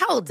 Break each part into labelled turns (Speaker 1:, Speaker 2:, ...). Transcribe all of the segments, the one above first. Speaker 1: Hold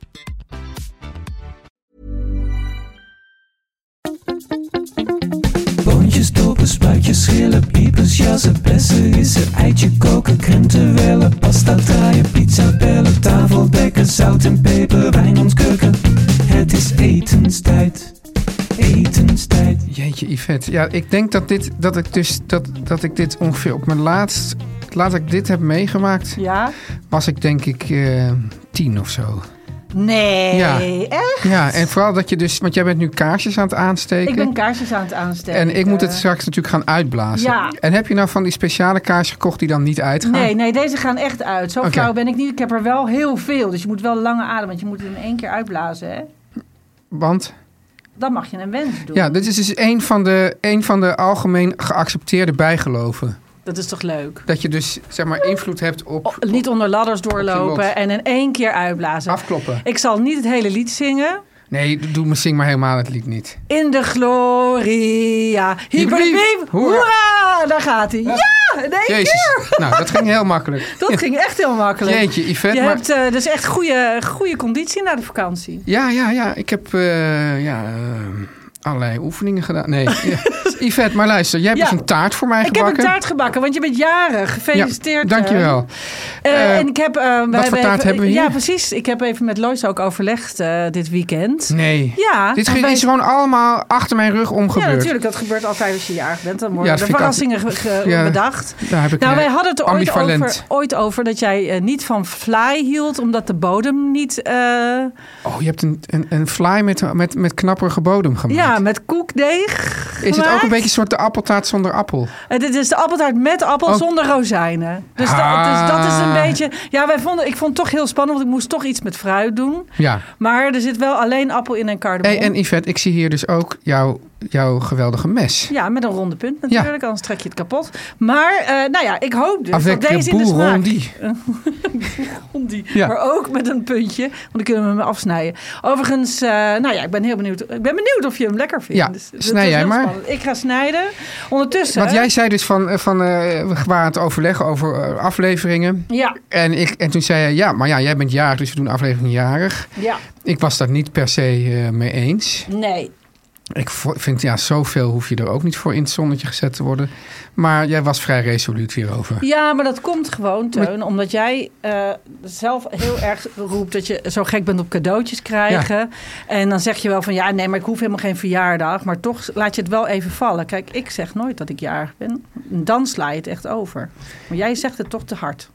Speaker 2: Boontjes, dopen, spuitjes, schillen, piepers, jassen, bessen, rissen, eitje koken, krenten wellen, pasta draaien, pizza bellen, tafel dekken, zout en peper, wijn ontkurken. Het is etenstijd, etenstijd.
Speaker 3: Jeetje, Yvette. Ja, ik denk dat, dit, dat, ik, dus, dat, dat ik dit ongeveer op mijn laatst... Laat ik dit heb meegemaakt,
Speaker 4: Ja?
Speaker 3: was ik denk ik eh, tien of zo.
Speaker 4: Nee,
Speaker 3: Ja.
Speaker 4: echt?
Speaker 3: Ja, en vooral dat je dus... Want jij bent nu kaarsjes aan het aansteken.
Speaker 4: Ik ben kaarsjes aan het aansteken.
Speaker 3: en ik moet het
Speaker 4: Eh,
Speaker 3: straks natuurlijk gaan uitblazen.
Speaker 4: Ja.
Speaker 3: En heb je nou van die speciale kaars gekocht die dan niet uitgaan?
Speaker 4: Nee, nee, deze gaan echt uit. Zo
Speaker 3: Oké.
Speaker 4: flauw ben ik niet. Ik heb er wel heel veel. Dus je moet wel lange adem, want je moet het in één keer uitblazen. Hè?
Speaker 3: Want
Speaker 4: Dan mag je een wens doen.
Speaker 3: ja, dit is dus een van de, een van de algemeen geaccepteerde bijgeloven.
Speaker 4: Dat is toch leuk?
Speaker 3: Dat je dus zeg maar invloed hebt op
Speaker 4: O- niet onder ladders doorlopen
Speaker 3: lot.
Speaker 4: en in één keer uitblazen.
Speaker 3: afkloppen.
Speaker 4: Ik zal niet het hele lied zingen.
Speaker 3: Nee, doe me zing maar helemaal het lied niet.
Speaker 4: In de gloria. Hyperpiep.
Speaker 3: Hoera.
Speaker 4: Hoera! Daar gaat hij. Ja! In één keer.
Speaker 3: Jezus, nou dat ging heel makkelijk.
Speaker 4: Dat ging echt heel makkelijk.
Speaker 3: Jeetje, Yvette.
Speaker 4: Je
Speaker 3: maar-
Speaker 4: hebt eh, dus echt goede, goede conditie na de vakantie.
Speaker 3: Ja, ja, ja. Ik heb eh, ja, eh, allerlei oefeningen gedaan. Nee, ja. Yvette, maar luister. Jij hebt
Speaker 4: Ja.
Speaker 3: dus een taart voor mij
Speaker 4: Ik heb
Speaker 3: gebakken.
Speaker 4: een taart gebakken, want je bent jarig. Gefeliciteerd.
Speaker 3: Ja,
Speaker 4: eh.
Speaker 3: dankjewel.
Speaker 4: Eh,
Speaker 3: Eh,
Speaker 4: en ik heb, eh, wij
Speaker 3: voor taart
Speaker 4: even-
Speaker 3: hebben we hier?
Speaker 4: Ja, precies. Ik heb even met Lois ook overlegd eh, dit weekend.
Speaker 3: Nee.
Speaker 4: Ja.
Speaker 3: Hm. Dit
Speaker 4: want
Speaker 3: ge-
Speaker 4: wij-
Speaker 3: is gewoon allemaal achter mijn rug
Speaker 4: Ja,
Speaker 3: omgebeurd.
Speaker 4: natuurlijk. Dat gebeurt altijd als je jarig bent. Dan worden
Speaker 3: Ja, dat
Speaker 4: er
Speaker 3: vind ik
Speaker 4: verrassingen ge- ge-
Speaker 3: Ja.
Speaker 4: bedacht.
Speaker 3: Daar heb ik
Speaker 4: Nou,
Speaker 3: een
Speaker 4: wij hadden het ooit
Speaker 3: ambivalent.
Speaker 4: over, ooit over dat jij eh, niet van fly hield, omdat de bodem niet... eh,
Speaker 3: Oh, je hebt een, een, een fly met, met, met knapperige bodem gemaakt.
Speaker 4: ja, met koekdeeg.
Speaker 3: is het ook
Speaker 4: gemaakt.
Speaker 3: een beetje een soort de appeltaart zonder appel?
Speaker 4: Eh, dit is de appeltaart met appel
Speaker 3: Oh.
Speaker 4: zonder rozijnen. Dus, dat-
Speaker 3: Ah.
Speaker 4: dus dat is een beetje... Ja, wij vonden, ik vond het toch heel spannend, want ik moest toch iets met fruit doen.
Speaker 3: Ja.
Speaker 4: Maar er zit wel alleen appel in en kardemom.
Speaker 3: Hey, en Yvette, ik zie hier dus ook jouw, jouw geweldige mes.
Speaker 4: Ja, met een ronde punt natuurlijk, anders trek je het kapot. Maar, eh, nou ja, ik hoop dus
Speaker 3: Avec
Speaker 4: dat deze in de
Speaker 3: Ah, boel
Speaker 4: smaak...
Speaker 3: rondi.
Speaker 4: Rondi.
Speaker 3: Ja.
Speaker 4: Maar ook met een puntje, want dan kunnen we hem afsnijden. Overigens, eh, nou ja, ik ben heel benieuwd. Ik ben benieuwd of je hem lekker vindt. Dus
Speaker 3: Ja,
Speaker 4: dat
Speaker 3: snij
Speaker 4: is
Speaker 3: jij
Speaker 4: heel
Speaker 3: maar.
Speaker 4: spannend. Ik ga snijden. Ondertussen...
Speaker 3: Want jij zei dus van, eh, van eh, we waren het overleggen over eh, afleveringen.
Speaker 4: Ja,
Speaker 3: En, ik, en toen zei je, ja, maar ja, jij bent jarig, dus we doen aflevering jarig.
Speaker 4: ja,
Speaker 3: Ik was daar niet per se eh, mee eens.
Speaker 4: nee.
Speaker 3: Ik vo- vind, ja, zoveel hoef je er ook niet voor in het zonnetje gezet te worden. Maar jij was vrij resoluut hierover.
Speaker 4: Ja, maar dat komt gewoon, Teun, omdat jij eh, zelf heel erg roept dat je zo gek bent op cadeautjes krijgen. En dan zeg je wel van ja, nee, maar ik hoef helemaal geen verjaardag. Maar toch laat je het wel even vallen. Kijk, ik zeg nooit dat ik jarig ben. Dan sla je het echt over. Maar jij zegt het toch te hard.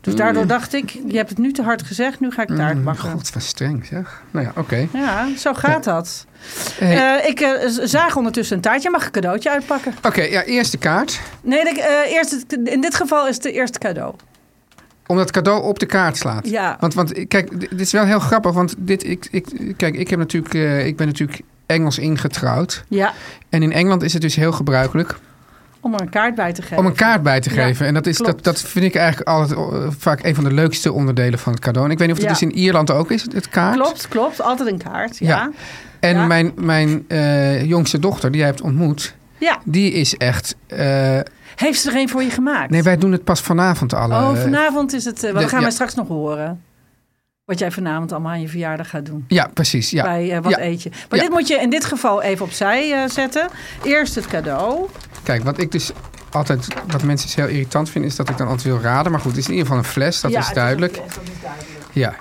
Speaker 4: Dus daardoor dacht ik, je hebt het nu te hard gezegd, nu ga ik taart
Speaker 3: Maar
Speaker 4: bakken.
Speaker 3: Mm, god, wat streng zeg. Nou ja, oké.
Speaker 4: Ja, zo gaat dat.
Speaker 3: Hey,
Speaker 4: Eh, ik eh, z- zaag ondertussen een taartje. Jij mag een cadeautje uitpakken.
Speaker 3: oké, ja, eerste kaart.
Speaker 4: Nee, ik, eh, eerst het- in dit geval is het de eerste cadeau.
Speaker 3: Omdat het cadeau op de kaart slaat.
Speaker 4: Ja.
Speaker 3: Want, want kijk, d- dit is wel heel grappig. Want dit, ik, ik, kijk, ik, heb natuurlijk, eh, ik ben natuurlijk Engels ingetrouwd.
Speaker 4: Ja,
Speaker 3: En in Engeland is het dus heel gebruikelijk
Speaker 4: om er een kaart bij te geven.
Speaker 3: om een kaart bij te
Speaker 4: Ja,
Speaker 3: geven. en dat, is, dat,
Speaker 4: klopt.
Speaker 3: dat vind ik eigenlijk altijd eh, vaak een van de leukste onderdelen van het cadeau. En ik weet niet of dat
Speaker 4: Ja.
Speaker 3: dus in Ierland ook is, het kaart.
Speaker 4: Klopt, klopt. Altijd een kaart. Ja.
Speaker 3: Ja.
Speaker 4: ja.
Speaker 3: En
Speaker 4: Ja.
Speaker 3: mijn, mijn eh, jongste dochter, die jij hebt ontmoet, die is echt... eh,
Speaker 4: Heeft ze er een voor je gemaakt?
Speaker 3: nee, wij doen het pas vanavond alle.
Speaker 4: oh, vanavond is het. eh,
Speaker 3: de-
Speaker 4: we gaan
Speaker 3: ja.
Speaker 4: wij straks nog horen. Wat jij vanavond allemaal aan je verjaardag gaat doen.
Speaker 3: Ja, precies. Ja.
Speaker 4: Bij eh, wat
Speaker 3: Ja.
Speaker 4: eet je. Maar
Speaker 3: Ja.
Speaker 4: dit moet je in dit geval even opzij eh, zetten. Eerst het cadeau.
Speaker 3: Kijk, wat ik dus altijd, wat mensen dus heel irritant vinden, is dat ik dan altijd wil raden. Maar goed, het is in ieder geval een fles, dat
Speaker 4: Ja,
Speaker 3: is
Speaker 4: het
Speaker 3: duidelijk.
Speaker 4: een fles, dat is duidelijk.
Speaker 3: Ja.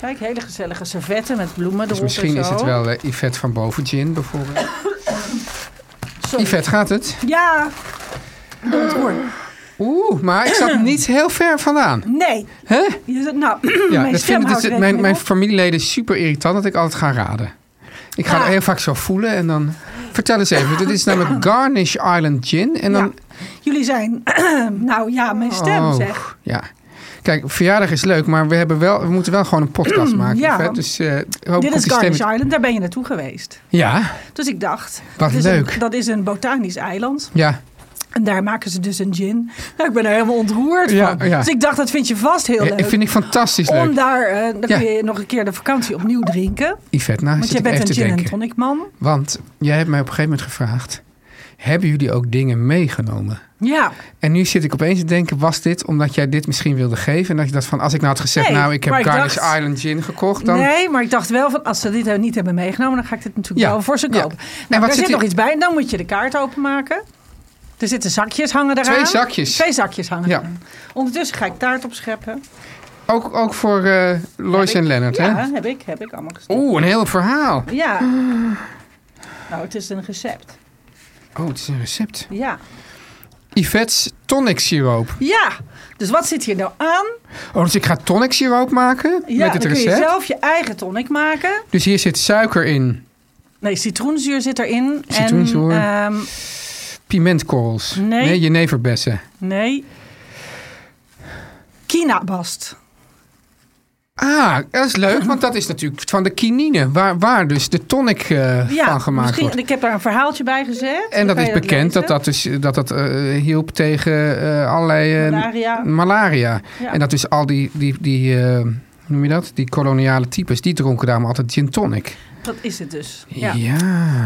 Speaker 4: Kijk, hele gezellige servetten met bloemen erop
Speaker 3: Dus misschien
Speaker 4: en
Speaker 3: is
Speaker 4: zo.
Speaker 3: het wel eh, Yvette van Boven Gin bijvoorbeeld.
Speaker 4: Sorry.
Speaker 3: Yvette, gaat het?
Speaker 4: Ja, onthoor.
Speaker 3: Oeh, maar ik zat niet heel ver vandaan.
Speaker 4: Nee.
Speaker 3: Hè?
Speaker 4: Je zegt, nou,
Speaker 3: Ja,
Speaker 4: mijn
Speaker 3: dat
Speaker 4: stem
Speaker 3: vind ik,
Speaker 4: houdt
Speaker 3: dus,
Speaker 4: er
Speaker 3: mijn,
Speaker 4: even
Speaker 3: mijn
Speaker 4: op.
Speaker 3: familieleden is super irritant dat ik altijd ga raden. Ik ga
Speaker 4: Ah.
Speaker 3: er heel vaak zo voelen en dan... Vertel eens even, dit is namelijk Garnish Island Gin. En dan,
Speaker 4: Jullie zijn, nou ja, mijn stem
Speaker 3: Oh,
Speaker 4: zeg.
Speaker 3: Ja. Kijk, verjaardag is leuk, maar we, hebben wel, we moeten wel gewoon een podcast maken.
Speaker 4: Ja.
Speaker 3: Yvette. Dus eh, hoop
Speaker 4: Dit
Speaker 3: dat
Speaker 4: is
Speaker 3: die stem-
Speaker 4: Garnish Island, daar ben je naartoe geweest.
Speaker 3: Ja,
Speaker 4: Dus ik dacht,
Speaker 3: Wat
Speaker 4: dat is
Speaker 3: leuk.
Speaker 4: Een, dat is een botanisch eiland.
Speaker 3: ja.
Speaker 4: En daar maken ze dus een gin. Nou, ik ben er helemaal ontroerd
Speaker 3: Ja,
Speaker 4: van.
Speaker 3: ja.
Speaker 4: Dus ik dacht, dat vind je vast heel
Speaker 3: Eh,
Speaker 4: leuk.
Speaker 3: vind ik fantastisch
Speaker 4: Om
Speaker 3: leuk.
Speaker 4: daar, eh, dan
Speaker 3: Ja.
Speaker 4: kun je nog een keer de vakantie opnieuw drinken.
Speaker 3: Yvette, nou
Speaker 4: Want
Speaker 3: zit
Speaker 4: jij
Speaker 3: ik even
Speaker 4: bent
Speaker 3: te
Speaker 4: een gin en
Speaker 3: denken.
Speaker 4: tonic man.
Speaker 3: Want jij hebt mij op een gegeven moment gevraagd... Hebben jullie ook dingen meegenomen?
Speaker 4: Ja,
Speaker 3: En nu zit ik opeens te denken, was dit omdat jij dit misschien wilde geven? En dat je dacht van, als ik nou had gezegd,
Speaker 4: Nee,
Speaker 3: nou ik heb
Speaker 4: maar ik
Speaker 3: Garnish
Speaker 4: dacht-
Speaker 3: Island Gin gekocht, dan...
Speaker 4: nee, maar ik dacht wel van als ze dit nou niet hebben meegenomen, dan ga ik dit natuurlijk
Speaker 3: Ja,
Speaker 4: wel voor ze
Speaker 3: ja. En
Speaker 4: kopen.
Speaker 3: wat
Speaker 4: Nou,
Speaker 3: zit
Speaker 4: daar zit
Speaker 3: hier-
Speaker 4: nog iets bij en dan moet je de kaart openmaken. Er zitten zakjes hangen daaraan.
Speaker 3: Twee zakjes.
Speaker 4: Twee zakjes hangen.
Speaker 3: Ja.
Speaker 4: eraan. Ondertussen ga ik taart opscheppen.
Speaker 3: Ook, ook voor eh Lois en Lennart, hè?
Speaker 4: Ja, heb ik, heb ik allemaal gestopt.
Speaker 3: Oeh, een heel verhaal.
Speaker 4: Ja.
Speaker 3: Ah.
Speaker 4: Nou, het is een recept.
Speaker 3: Oh, het is een recept.
Speaker 4: Ja.
Speaker 3: Yvette's tonic siroop.
Speaker 4: Ja. Dus wat zit hier nou aan?
Speaker 3: Oh, dus ik ga tonic siroop maken
Speaker 4: Ja,
Speaker 3: met het
Speaker 4: dan kun
Speaker 3: recept.
Speaker 4: je zelf je eigen tonic maken.
Speaker 3: Dus hier zit suiker in,
Speaker 4: Nee, citroenzuur zit erin.
Speaker 3: Citroenzuur.
Speaker 4: En, ehm,
Speaker 3: pimentkorrels.
Speaker 4: Nee.
Speaker 3: jeneverbessen.
Speaker 4: nee. Kinabast.
Speaker 3: Ah, dat is leuk, want dat is natuurlijk van de kinine, waar, waar dus de tonic eh, van gemaakt
Speaker 4: misschien,
Speaker 3: wordt.
Speaker 4: Ik heb daar een verhaaltje bij gezet.
Speaker 3: En
Speaker 4: Dan
Speaker 3: dat
Speaker 4: kan
Speaker 3: is
Speaker 4: je
Speaker 3: bekend dat
Speaker 4: lezen.
Speaker 3: dat, dus, dat, dat eh, hielp tegen eh, allerlei eh,
Speaker 4: Malaria.
Speaker 3: malaria.
Speaker 4: Ja.
Speaker 3: En dat dus al die, die, die eh, hoe noem je dat? Die koloniale types, die dronken daarom altijd gin tonic.
Speaker 4: Dat is het dus.
Speaker 3: Ja.
Speaker 4: Ja.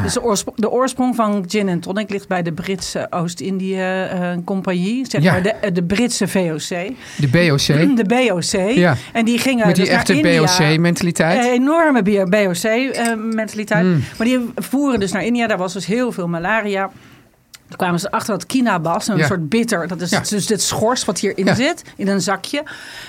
Speaker 4: Dus de oorsprong, de oorsprong van gin en tonic ligt bij de Britse Oost-Indië eh, Compagnie. Zeg
Speaker 3: Ja.
Speaker 4: maar de, eh, de Britse VOC.
Speaker 3: De BOC,
Speaker 4: De BOC.
Speaker 3: Ja.
Speaker 4: En die gingen
Speaker 3: met die
Speaker 4: dus
Speaker 3: echte
Speaker 4: naar India.
Speaker 3: BOC-mentaliteit.
Speaker 4: Een enorme BOC-mentaliteit.
Speaker 3: Mm.
Speaker 4: eh, Maar die voeren dus naar India. Daar was dus heel veel malaria. Toen kwamen ze achter dat kinabas, een
Speaker 3: Ja.
Speaker 4: soort bitter. Dat is
Speaker 3: Ja.
Speaker 4: dus dit schors wat hierin
Speaker 3: Ja.
Speaker 4: zit, in een zakje.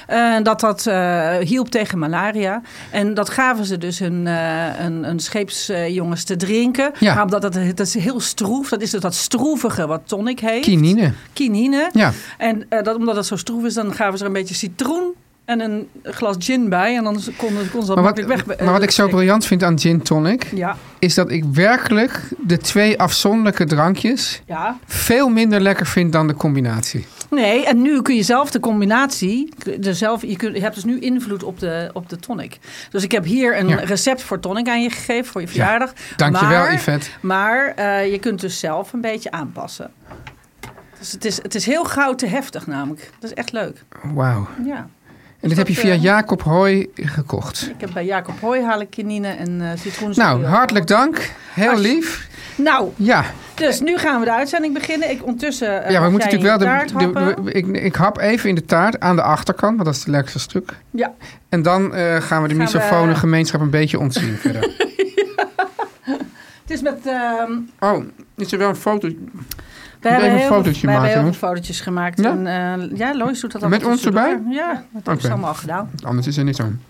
Speaker 4: eh, dat dat eh, hielp tegen malaria. En dat gaven ze dus hun, eh, een, een scheepsjongens te drinken.
Speaker 3: Ja.
Speaker 4: Maar omdat dat, dat is heel stroef. Dat is dus dat stroevige wat tonic heet.
Speaker 3: Kinine,
Speaker 4: Kinine.
Speaker 3: ja.
Speaker 4: En eh, dat, omdat dat zo stroef is, dan gaven ze er een beetje citroen en een glas gin bij. En dan konden kon ze dat
Speaker 3: Maar wat,
Speaker 4: makkelijk weg. eh,
Speaker 3: maar wat ik zo
Speaker 4: drinken.
Speaker 3: briljant vind aan gin tonic...
Speaker 4: Ja,
Speaker 3: is dat ik werkelijk de twee afzonderlijke drankjes...
Speaker 4: ja.
Speaker 3: veel minder lekker vind dan de combinatie.
Speaker 4: Nee, en nu kun je zelf de combinatie. De zelf, je, kunt, je hebt dus nu invloed op de, op de tonic. Dus ik heb hier een
Speaker 3: Ja.
Speaker 4: recept voor tonic aan je gegeven voor je verjaardag.
Speaker 3: Dankjewel,
Speaker 4: maar,
Speaker 3: Yvette.
Speaker 4: Maar eh, je kunt dus zelf een beetje aanpassen. Dus het is, het is heel gauw te heftig namelijk. Dat is echt leuk.
Speaker 3: Wauw.
Speaker 4: Ja.
Speaker 3: En dit
Speaker 4: dat,
Speaker 3: heb je via
Speaker 4: eh,
Speaker 3: Jacob Hooy gekocht.
Speaker 4: Ik heb bij Jacob Hooy haal ik kinine en eh citroen.
Speaker 3: Nou, hartelijk dank. Heel
Speaker 4: Als-
Speaker 3: lief.
Speaker 4: Nou,
Speaker 3: Ja,
Speaker 4: Dus nu gaan we de uitzending beginnen. Ik ondertussen. eh,
Speaker 3: ja
Speaker 4: mag
Speaker 3: we moeten
Speaker 4: jij
Speaker 3: natuurlijk
Speaker 4: in je
Speaker 3: wel... De,
Speaker 4: taart happen.
Speaker 3: de- we- ik, ik hap even in de taart aan de achterkant, want dat is het lekkerste stuk.
Speaker 4: Ja.
Speaker 3: En dan eh, gaan we de
Speaker 4: Gaan
Speaker 3: misofone
Speaker 4: we-
Speaker 3: gemeenschap een beetje ontzien verder.
Speaker 4: Het is met. ehm,
Speaker 3: Oh, is er wel een foto?
Speaker 4: we
Speaker 3: even
Speaker 4: hebben
Speaker 3: een
Speaker 4: heel, veel-
Speaker 3: fotootje
Speaker 4: we hebben
Speaker 3: maken,
Speaker 4: heel
Speaker 3: hè?
Speaker 4: veel fotootjes gemaakt.
Speaker 3: Ja?
Speaker 4: Ja, en, eh, ja Lois doet dat al.
Speaker 3: Met ons erbij?
Speaker 4: Ja, dat hebben
Speaker 3: Oké.
Speaker 4: ze allemaal gedaan. Hmm.
Speaker 3: Anders is er niks aan.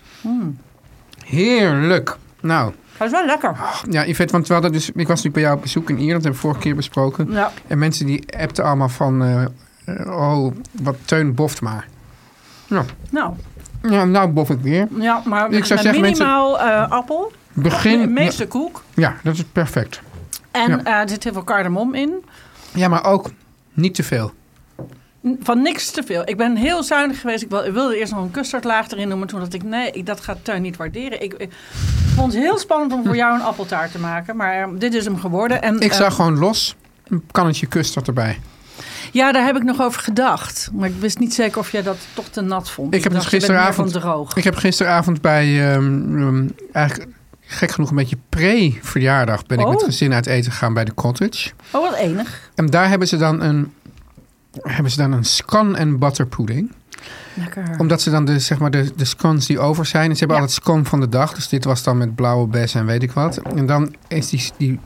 Speaker 3: Heerlijk. Nou,
Speaker 4: Dat is wel lekker.
Speaker 3: ja, Yvette, want we hadden dus, ik was natuurlijk bij jou op bezoek in Ierland, hebben we vorige keer besproken.
Speaker 4: Ja.
Speaker 3: En mensen die appten allemaal van, eh, eh, oh, wat Teun boft maar.
Speaker 4: Nou,
Speaker 3: Ja, nou bof ik weer.
Speaker 4: ja, maar
Speaker 3: Ik zou
Speaker 4: met
Speaker 3: zeggen,
Speaker 4: minimaal eh, appel.
Speaker 3: Begin,
Speaker 4: Meeste koek.
Speaker 3: ja, dat is perfect.
Speaker 4: En
Speaker 3: Ja.
Speaker 4: eh, er zit heel veel cardamom in.
Speaker 3: Ja, maar ook niet te veel.
Speaker 4: N- Van niks te veel. Ik ben heel zuinig geweest. Ik wil- ik wilde eerst nog een custardlaag erin doen. Maar toen dacht ik, nee, ik, dat gaat Tuin niet waarderen. Ik, ik vond het heel spannend om voor jou een appeltaart te maken. Maar eh, dit is hem geworden. En,
Speaker 3: Hm. Ik
Speaker 4: eh,
Speaker 3: zou gewoon los een kannetje custard erbij.
Speaker 4: Ja, daar heb ik nog over gedacht. Maar ik wist niet zeker of jij dat toch te nat vond.
Speaker 3: Ik heb
Speaker 4: dacht,
Speaker 3: dus
Speaker 4: je bent meer
Speaker 3: gisteravond-
Speaker 4: van droog.
Speaker 3: Ik heb gisteravond bij, ehm, ehm, eigenlijk gek genoeg een beetje pre-verjaardag, ben ik
Speaker 4: Oh.
Speaker 3: met gezin uit eten gegaan bij de cottage.
Speaker 4: Oh, wat enig.
Speaker 3: En daar hebben ze dan een, hebben ze dan een scan en butter pudding.
Speaker 4: Lekker.
Speaker 3: Omdat ze dan de, zeg maar de, de scones die over zijn. En ze hebben altijd scone van de dag. Dus dit was dan met blauwe bessen en weet ik wat. En dan is die, die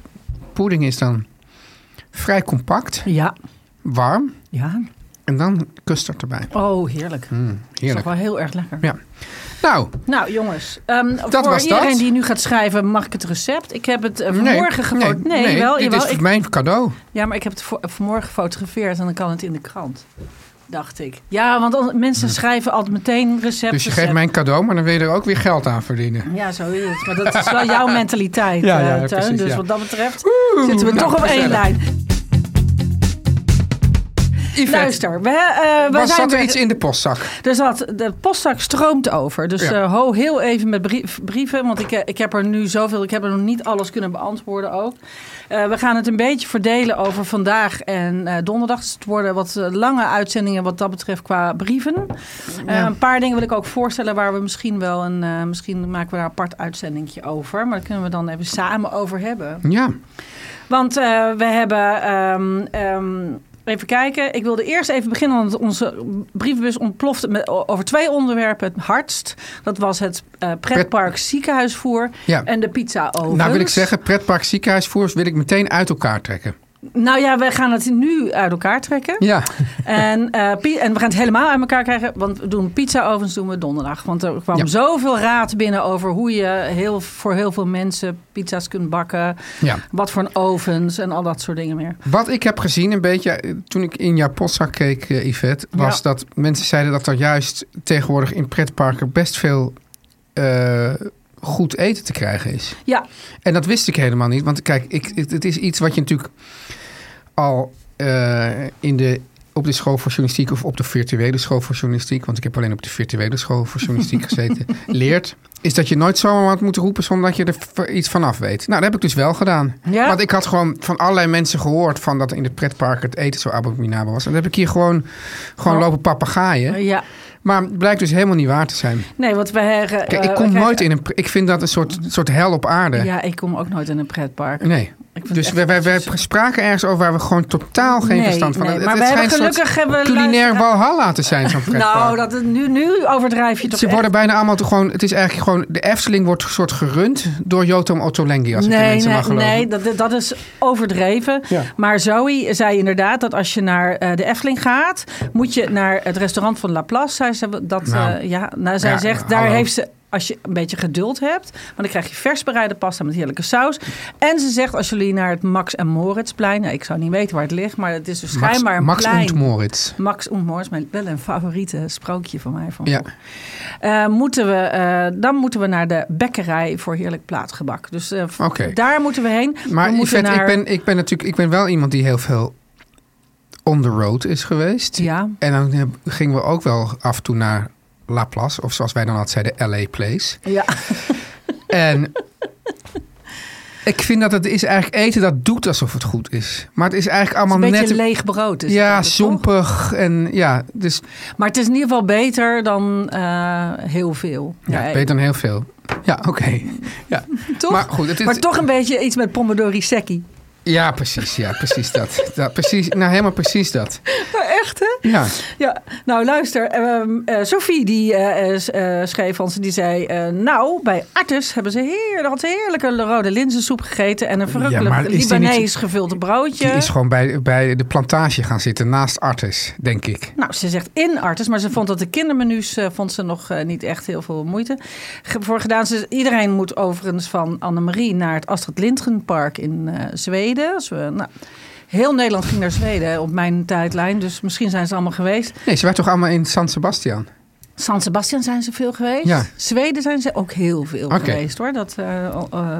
Speaker 3: pudding is dan vrij compact,
Speaker 4: Ja,
Speaker 3: warm.
Speaker 4: ja.
Speaker 3: En dan custard erbij.
Speaker 4: Oh, heerlijk.
Speaker 3: Mm,
Speaker 4: Dat is toch
Speaker 3: heerlijk.
Speaker 4: wel heel erg lekker.
Speaker 3: Ja. Nou,
Speaker 4: Nou, jongens. ehm,
Speaker 3: Dat
Speaker 4: voor
Speaker 3: was dat.
Speaker 4: iedereen die nu gaat schrijven, mag ik het recept? Ik heb het eh, vanmorgen gefotografeerd. Nee, wel,
Speaker 3: dit
Speaker 4: jawel,
Speaker 3: is
Speaker 4: ik-
Speaker 3: mijn cadeau. Dus
Speaker 4: Ja, maar ik heb het vo- vanmorgen gefotografeerd en dan kan het in de krant. Dacht ik. Ja, want al- mensen schrijven altijd meteen recept.
Speaker 3: Dus je
Speaker 4: recept.
Speaker 3: geeft mij een cadeau, maar dan wil je er ook weer geld aan verdienen.
Speaker 4: Ja, zo is het. Maar dat is wel jouw mentaliteit,
Speaker 3: Ja, ja,
Speaker 4: eh,
Speaker 3: ja,
Speaker 4: Teun.
Speaker 3: precies,
Speaker 4: dus
Speaker 3: ja.
Speaker 4: wat dat betreft zitten we
Speaker 3: nou,
Speaker 4: toch op één
Speaker 3: gezellig.
Speaker 4: lijn. Luister, we, eh, we
Speaker 3: Was
Speaker 4: zijn
Speaker 3: zat er
Speaker 4: weer-
Speaker 3: iets in de postzak?
Speaker 4: Er zat, de postzak stroomt over. Dus
Speaker 3: Ja.
Speaker 4: eh, ho heel even met brief- brieven. Want ik, eh, ik heb er nu zoveel. Ik heb er nog niet alles kunnen beantwoorden ook. Eh, we gaan het een beetje verdelen over vandaag en eh, donderdag. Dus het worden wat eh, lange uitzendingen wat dat betreft qua brieven. Eh, een paar dingen wil ik ook voorstellen waar we misschien wel een... eh, misschien maken we daar een apart uitzendingje over. Maar daar kunnen we dan even samen over hebben.
Speaker 3: Ja.
Speaker 4: Want eh, we hebben. ehm, ehm, even kijken. Ik wilde eerst even beginnen. Want onze brievenbus ontplofte met, o- over twee onderwerpen het hardst. Dat was het eh, pretpark ziekenhuisvoer
Speaker 3: Ja.
Speaker 4: en de pizza oven.
Speaker 3: Nou wil ik zeggen, pretpark ziekenhuisvoers wil ik meteen uit elkaar trekken.
Speaker 4: Nou ja, we gaan het nu uit elkaar trekken.
Speaker 3: Ja,
Speaker 4: En, eh, pi- en we gaan het helemaal uit elkaar krijgen. Want we doen pizzaovens doen we donderdag. Want er kwam
Speaker 3: Ja.
Speaker 4: zoveel raad binnen over hoe je heel, voor heel veel mensen pizza's kunt bakken.
Speaker 3: ja.
Speaker 4: Wat voor een ovens en al dat soort dingen meer.
Speaker 3: Wat ik heb gezien een beetje eh, toen ik in jouw postzak keek, eh, Yvette, was
Speaker 4: Ja.
Speaker 3: dat mensen zeiden dat er juist tegenwoordig in pretparken best veel eh, goed eten te krijgen is.
Speaker 4: Ja,
Speaker 3: En dat wist ik helemaal niet. Want kijk, ik, het, het is iets wat je natuurlijk al eh, in de, op de school voor journalistiek of op de virtuele school voor journalistiek, want ik heb alleen op de virtuele school voor journalistiek gezeten, leert. Is dat je nooit zomaar wat moet roepen zonder dat je er v- iets van af weet. Nou, dat heb ik dus wel gedaan.
Speaker 4: Ja.
Speaker 3: Want ik had gewoon van allerlei mensen gehoord van dat in het pretpark het eten zo abominabel was. En dat heb ik hier gewoon, gewoon
Speaker 4: Oh.
Speaker 3: lopen papegaaien.
Speaker 4: ja.
Speaker 3: Maar het blijkt dus helemaal niet waar te zijn.
Speaker 4: Nee, want we hebben...
Speaker 3: Kijk,
Speaker 4: eh,
Speaker 3: ik
Speaker 4: we
Speaker 3: kom
Speaker 4: krijgen-
Speaker 3: nooit in een. pre- Ik vind dat een soort, soort hel op aarde.
Speaker 4: Ja, ik kom ook nooit in een pretpark.
Speaker 3: Nee.
Speaker 4: Ik vind
Speaker 3: Dus
Speaker 4: het
Speaker 3: we,
Speaker 4: echt-
Speaker 3: we, we spraken ergens over waar we gewoon totaal geen
Speaker 4: Nee,
Speaker 3: verstand van
Speaker 4: nee,
Speaker 3: hebben.
Speaker 4: maar
Speaker 3: het
Speaker 4: we
Speaker 3: schijnt
Speaker 4: hebben
Speaker 3: een soort
Speaker 4: gelukkig hebben we
Speaker 3: culinair
Speaker 4: luisteraar-
Speaker 3: walhalla te zijn zo'n pretpark.
Speaker 4: Nou, dat, nu, nu overdrijf je toch
Speaker 3: Ze
Speaker 4: echt.
Speaker 3: worden bijna allemaal toch gewoon... Het is eigenlijk gewoon... De Efteling wordt een soort gerund door Jotam Ottolenghi, als ik de
Speaker 4: Nee,
Speaker 3: mensen
Speaker 4: nee,
Speaker 3: mag geloven.
Speaker 4: nee dat, dat is overdreven.
Speaker 3: Ja.
Speaker 4: Maar Zoe zei inderdaad dat als je naar eh, de Efteling gaat, moet je naar het restaurant van Laplace. Zij, zei dat,
Speaker 3: Nou.
Speaker 4: eh, ja, nou, zij
Speaker 3: Ja,
Speaker 4: zegt,
Speaker 3: eh,
Speaker 4: daar
Speaker 3: hallo.
Speaker 4: heeft ze, als je een beetje geduld hebt, want dan krijg je vers bereide pasta met heerlijke saus. En ze zegt, als jullie naar het Max en Moritzplein, nou, ik zou niet weten waar het ligt, maar het is dus
Speaker 3: Max,
Speaker 4: schijnbaar een
Speaker 3: Max
Speaker 4: plein.
Speaker 3: und Moritz.
Speaker 4: Max Ontmoor is mijn, wel een favoriete sprookje van mij. Van
Speaker 3: Ja.
Speaker 4: eh, moeten we, eh, dan moeten we naar de bekkerij voor heerlijk plaatgebak. Dus eh, v-
Speaker 3: Oké.
Speaker 4: daar moeten we heen.
Speaker 3: Maar
Speaker 4: we moeten
Speaker 3: Yvette, ik, ben, ik ben natuurlijk... Ik ben wel iemand die heel veel on the road is geweest.
Speaker 4: Ja,
Speaker 3: En dan heb- gingen we ook wel af en toe naar Laplace. Of zoals wij dan altijd zeiden, LA Place.
Speaker 4: ja.
Speaker 3: En ik vind dat het is eigenlijk eten dat doet alsof het goed is. Maar het is eigenlijk
Speaker 4: Het is een
Speaker 3: allemaal
Speaker 4: beetje
Speaker 3: net...
Speaker 4: leeg brood. Is het
Speaker 3: ja,
Speaker 4: altijd, toch?
Speaker 3: sompig en ja, dus
Speaker 4: Maar het is in ieder geval beter dan eh, heel veel.
Speaker 3: ja,
Speaker 4: Nee,
Speaker 3: beter dan heel veel. Ja, oké. Ja.
Speaker 4: Toch?
Speaker 3: Maar goed, het is...
Speaker 4: Maar toch een beetje iets met pomodori secchi.
Speaker 3: Ja, precies. Ja, precies dat. dat precies, nou, helemaal precies dat.
Speaker 4: Maar echt, hè?
Speaker 3: Ja,
Speaker 4: Ja, nou luister, ehm, eh, Sophie die eh, eh, s- eh, schreef ons, die zei... eh, nou, bij Artus hebben ze heerlijk, had ze heerlijke rode linzensoep gegeten... en een verrukkelijk
Speaker 3: maar is die
Speaker 4: Libanees
Speaker 3: niet-
Speaker 4: gevulde broodje.
Speaker 3: die is gewoon bij, bij de plantage gaan zitten naast Artis, denk ik.
Speaker 4: Nou, ze zegt in Artis, maar ze vond dat de kindermenu's eh, vond ze nog eh, niet echt heel veel moeite ge- voor gedaan. Ze, iedereen moet overigens van Annemarie naar het Astrid Lindgrenpark in eh, Zweden. Dus, we- nou, heel Nederland ging naar Zweden op mijn tijdlijn, dus misschien zijn ze allemaal geweest.
Speaker 3: Nee, ze waren toch allemaal in San Sebastian?
Speaker 4: San Sebastian zijn ze veel geweest.
Speaker 3: Ja.
Speaker 4: Zweden zijn ze ook heel veel
Speaker 3: Oké.
Speaker 4: geweest hoor. Dat, eh, al- eh,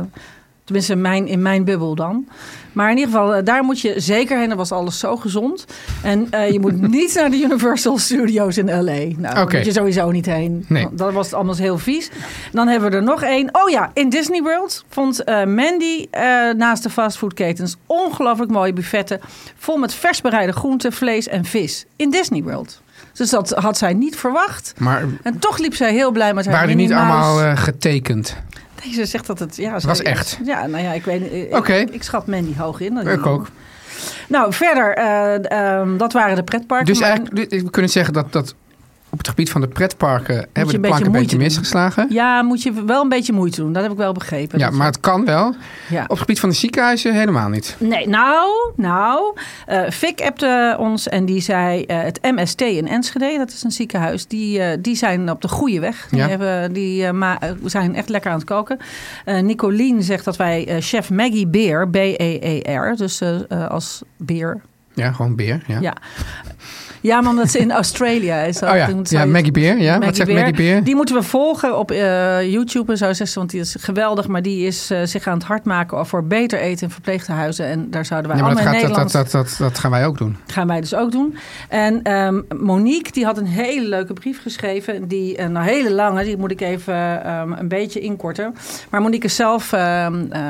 Speaker 4: tenminste in mijn, in mijn bubbel dan. Maar in ieder geval, eh, daar moet je zeker heen. Dan was alles zo gezond. En eh, je moet niet naar de Universal Studios in L.A. Nou, daar
Speaker 3: Oké.
Speaker 4: moet je sowieso niet heen.
Speaker 3: Nee.
Speaker 4: Want Dan was het anders heel vies. Dan hebben we er nog één. Oh ja, in Disney World vond eh, Mandy eh, naast de fastfoodketens ongelooflijk mooie buffetten. Vol met vers bereide groenten, vlees en vis. In Disney World. Dus dat had zij niet verwacht.
Speaker 3: Maar
Speaker 4: En toch liep zij heel blij met haar
Speaker 3: waren die niet
Speaker 4: Minnie Mouse.
Speaker 3: allemaal eh, getekend?
Speaker 4: Nee, ze zegt dat het... Ja, ze-
Speaker 3: Was echt.
Speaker 4: Ja, nou ja, ik weet niet. Ik,
Speaker 3: Oké.
Speaker 4: ik schat Mandy hoog in.
Speaker 3: Ik ook.
Speaker 4: Nou, verder, eh, ehm, dat waren de pretparken.
Speaker 3: Dus
Speaker 4: Maar-
Speaker 3: eigenlijk, we kunnen zeggen dat, dat op het gebied van de pretparken hebben
Speaker 4: een
Speaker 3: de
Speaker 4: beetje
Speaker 3: plank een
Speaker 4: moeite
Speaker 3: beetje
Speaker 4: doen.
Speaker 3: misgeslagen.
Speaker 4: Ja, moet je wel een beetje moeite doen. Dat heb ik wel begrepen.
Speaker 3: Ja,
Speaker 4: Dat-
Speaker 3: maar het kan wel.
Speaker 4: ja.
Speaker 3: Op het gebied van de ziekenhuizen helemaal niet.
Speaker 4: Nee, nou, nou. eh Fik appte ons en die zei eh, het MST in Enschede, dat is een ziekenhuis, die, eh, die zijn op de goede weg. Die,
Speaker 3: Ja.
Speaker 4: hebben, die eh, ma- eh, zijn echt lekker aan het koken. Eh Nicolien zegt dat wij eh, chef Maggie Beer, B-E-E-R, dus eh, eh, als beer.
Speaker 3: Ja, gewoon beer. Ja.
Speaker 4: Ja. ja, maar omdat ze in Australië is.
Speaker 3: Oh ja, ja Maggie Beer. Ja. Wat zegt Maggie Beer?
Speaker 4: Die moeten we volgen op eh, YouTube en zo, zegt ze, want die is geweldig. Maar die is eh, zich aan het hard maken voor beter eten in verpleegtehuizen. En daar zouden wij
Speaker 3: Ja, maar dat,
Speaker 4: allemaal
Speaker 3: gaat,
Speaker 4: in
Speaker 3: dat, dat,
Speaker 4: Nederland...
Speaker 3: dat, dat, dat gaan wij ook doen.
Speaker 4: gaan wij dus ook doen. En ehm, Monique, die had een hele leuke brief geschreven. Die, een hele lange, die moet ik even ehm, een beetje inkorten. Maar Monique is zelf ehm, eh,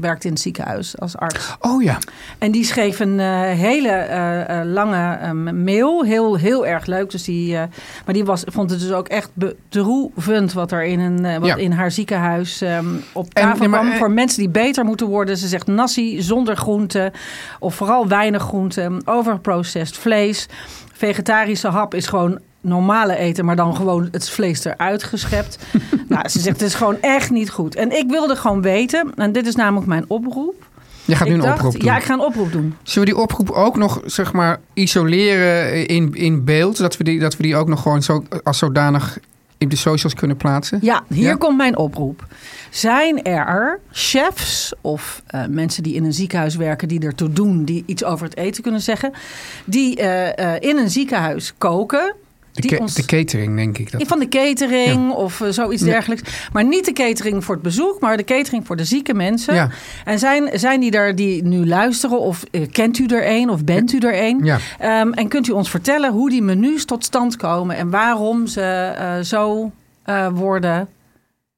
Speaker 4: werkt in het ziekenhuis als arts.
Speaker 3: Oh ja,
Speaker 4: En die schreef een eh, hele eh, eh, lange ehm, mail. Heel, heel erg leuk. Dus die, eh, maar die was, vond het dus ook echt bedroevend wat er in, een, eh, wat
Speaker 3: Ja.
Speaker 4: in haar ziekenhuis ehm, op tafel
Speaker 3: nee, maar,
Speaker 4: kwam.
Speaker 3: eh,
Speaker 4: voor mensen die beter moeten worden. Ze zegt nasi zonder groenten. Of vooral weinig groenten. Overgeprocessed vlees. Vegetarische hap is gewoon normale eten, maar dan gewoon het vlees eruit geschept. nou, ze zegt het is gewoon echt niet goed. En ik wilde gewoon weten, en dit is namelijk mijn oproep.
Speaker 3: je gaat nu
Speaker 4: Ik
Speaker 3: een
Speaker 4: dacht-
Speaker 3: oproep doen.
Speaker 4: Ja, ik ga een oproep doen.
Speaker 3: Zullen we die oproep ook nog zeg maar, isoleren in, in beeld? Zodat we, die, dat we die ook nog gewoon zo, als zodanig in de socials kunnen plaatsen?
Speaker 4: Ja, hier
Speaker 3: Ja?
Speaker 4: komt mijn oproep. Zijn er chefs of eh, mensen die in een ziekenhuis werken, die ertoe doen, die iets over het eten kunnen zeggen, die eh, eh, in een ziekenhuis koken?
Speaker 3: De,
Speaker 4: die
Speaker 3: ca- de catering, denk ik. Dat.
Speaker 4: van de catering of eh, zoiets dergelijks. Maar niet de catering voor het bezoek, maar de catering voor de zieke mensen.
Speaker 3: Ja.
Speaker 4: En zijn, zijn die er die nu luisteren of eh, kent u er een of bent u er een?
Speaker 3: Ja.
Speaker 4: Ehm, en kunt u ons vertellen hoe die menus tot stand komen en waarom ze eh, zo eh, worden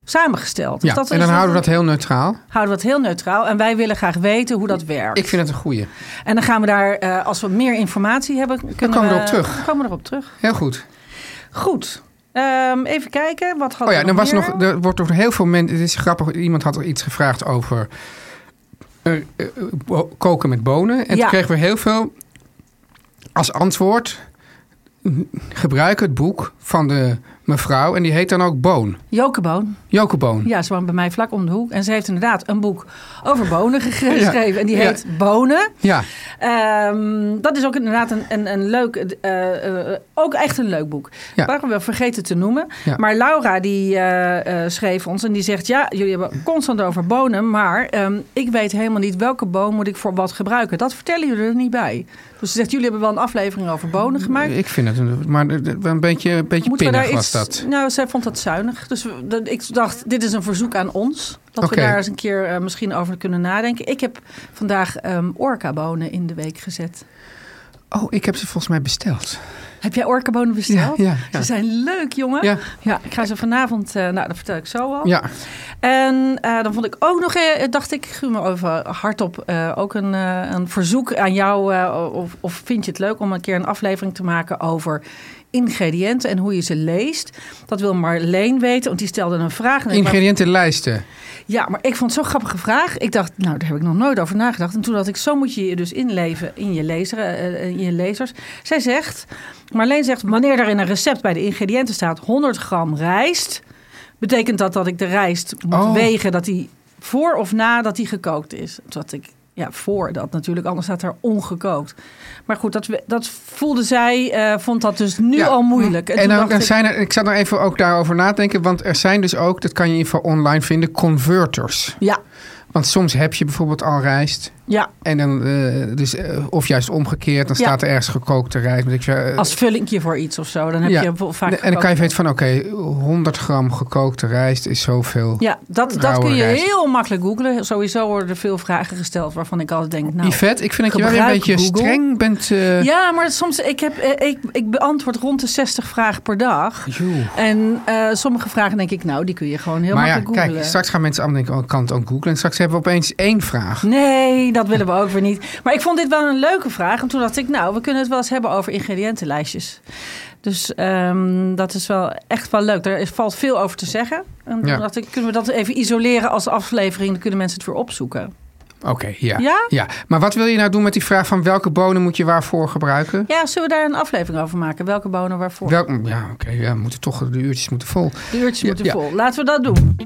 Speaker 4: samengesteld? Dus
Speaker 3: Ja,
Speaker 4: dat
Speaker 3: en
Speaker 4: is-
Speaker 3: dan houden we dat heel neutraal.
Speaker 4: houden we dat heel neutraal. En wij willen graag weten hoe dat werkt.
Speaker 3: Ik vind het een goeie.
Speaker 4: En dan gaan we daar, eh, als we meer informatie hebben, kunnen
Speaker 3: komen we erop terug.
Speaker 4: Dan komen we erop terug.
Speaker 3: Heel goed.
Speaker 4: Goed. Ehm, even kijken. Wat had
Speaker 3: Oh ja,
Speaker 4: er
Speaker 3: er, was
Speaker 4: meer?
Speaker 3: nog, er wordt door heel veel mensen... Het is grappig, iemand had er iets gevraagd over eh, eh, bo- koken met bonen. En
Speaker 4: Ja.
Speaker 3: toen kregen we heel veel als antwoord... mm, gebruik het boek van de mevrouw en die heet dan ook Boon.
Speaker 4: Jokeboon.
Speaker 3: Jokeboon.
Speaker 4: Ja, ze woont bij mij vlak om de hoek. En ze heeft inderdaad een boek over bonen ge-
Speaker 3: Ja.
Speaker 4: geschreven. En die
Speaker 3: Ja.
Speaker 4: heet Bonen.
Speaker 3: Ja.
Speaker 4: Ehm, dat is ook inderdaad een, een, een leuk, eh, eh, ook echt een leuk boek.
Speaker 3: Ja.
Speaker 4: Waren we vergeten te noemen.
Speaker 3: Ja.
Speaker 4: Maar Laura die eh, eh, schreef ons en die zegt... ja, jullie hebben constant over bonen... maar ehm, ik weet helemaal niet welke boon moet ik voor wat gebruiken. Dat vertellen jullie er niet bij. Dus ze zegt, jullie hebben wel een aflevering over bonen gemaakt.
Speaker 3: Ik vind het een, maar een een beetje, een beetje
Speaker 4: Moeten
Speaker 3: pinnig
Speaker 4: we daar
Speaker 3: was
Speaker 4: iets...
Speaker 3: dat.
Speaker 4: Nou, zij vond dat zuinig. Dus we- dat- ik dacht, dit is een verzoek aan ons. Dat
Speaker 3: Oké.
Speaker 4: we daar eens een keer eh, misschien over kunnen nadenken. Ik heb vandaag ehm orka-bonen in de week gezet.
Speaker 3: Oh, ik heb ze volgens mij besteld.
Speaker 4: Heb jij orkabonen besteld?
Speaker 3: Ja, ja, ja.
Speaker 4: Ze zijn leuk, jongen.
Speaker 3: Ja.
Speaker 4: Ja, ik ga ze vanavond... eh, nou, dat vertel ik zo al.
Speaker 3: Ja,
Speaker 4: En eh, dan vond ik ook nog... eh, dacht ik, Guur, maar even hardop... eh, ook een, eh, een verzoek aan jou... eh, of, of vind je het leuk om een keer een aflevering te maken over ingrediënten... en hoe je ze leest. Dat wil Marleen weten, want die stelde een vraag. En ik wou-
Speaker 3: ingrediëntenlijsten.
Speaker 4: ja, maar ik vond het zo'n grappige vraag. Ik dacht, nou, daar heb ik nog nooit over nagedacht. En toen dacht ik, zo moet je je dus inleven in je, lezer, eh, in je lezers. Zij zegt, Marleen zegt, wanneer er in een recept bij de ingrediënten staat 100 gram rijst, betekent dat dat ik de rijst moet
Speaker 3: Oh.
Speaker 4: wegen dat die voor of na dat die gekookt is. Toen dacht ik, ja, voor dat natuurlijk, anders staat er ongekookt. Maar goed, dat, we- dat voelde zij, eh, vond dat dus nu
Speaker 3: Ja.
Speaker 4: al moeilijk. En,
Speaker 3: En
Speaker 4: toen
Speaker 3: dan,
Speaker 4: dacht
Speaker 3: dan
Speaker 4: ik,
Speaker 3: zijn er, ik zat nog even ook daarover na te denken, want er zijn dus ook, dat kan je in ieder geval online vinden, converters.
Speaker 4: ja,
Speaker 3: Want soms heb je bijvoorbeeld al rijst.
Speaker 4: ja,
Speaker 3: En dan, eh, dus, eh, of juist omgekeerd, dan
Speaker 4: Ja.
Speaker 3: staat er ergens gekookte rijst. weet ik veel, eh,
Speaker 4: als vullingje voor iets of zo. Dan heb
Speaker 3: Ja.
Speaker 4: je bijvoorbeeld vaak
Speaker 3: en dan
Speaker 4: gekookt.
Speaker 3: kan je weten van, oké, 100 gram gekookte rijst is zoveel.
Speaker 4: Ja, dat, dat
Speaker 3: Rauwe
Speaker 4: kun je
Speaker 3: rijst.
Speaker 4: heel makkelijk googlen. Sowieso worden er veel vragen gesteld waarvan ik altijd denk... Nou,
Speaker 3: Yvette, ik vind dat je wel weer een
Speaker 4: gebruik
Speaker 3: beetje
Speaker 4: Google.
Speaker 3: streng bent. eh,
Speaker 4: ja, maar soms, ik, heb, eh, ik, ik beantwoord rond de 60 vragen per dag.
Speaker 3: joe.
Speaker 4: En eh, sommige vragen denk ik, nou, die kun je gewoon heel
Speaker 3: Maar ja,
Speaker 4: makkelijk googlen.
Speaker 3: kijk, straks gaan mensen allemaal denken, oh, ik kan het ook googlen. En straks hebben we opeens één vraag.
Speaker 4: Nee, dat willen we ook weer niet. Maar ik vond dit wel een leuke vraag. En toen dacht ik, nou, we kunnen het wel eens hebben over ingrediëntenlijstjes. Dus ehm, dat is wel echt wel leuk. Daar is- valt veel over te zeggen. En toen
Speaker 3: Ja.
Speaker 4: dacht ik, kunnen we dat even isoleren als aflevering? Dan kunnen mensen het weer opzoeken.
Speaker 3: Oké, ja.
Speaker 4: Ja?
Speaker 3: Maar wat wil je nou doen met die vraag van welke bonen moet je waarvoor gebruiken?
Speaker 4: Ja, zullen we daar een aflevering over maken? Welke bonen waarvoor?
Speaker 3: Welk, mm, ja, oké. ja, we moeten toch, de uurtjes moeten vol.
Speaker 4: de uurtjes
Speaker 3: Ja,
Speaker 4: moeten
Speaker 3: ja.
Speaker 4: vol. Laten we dat doen.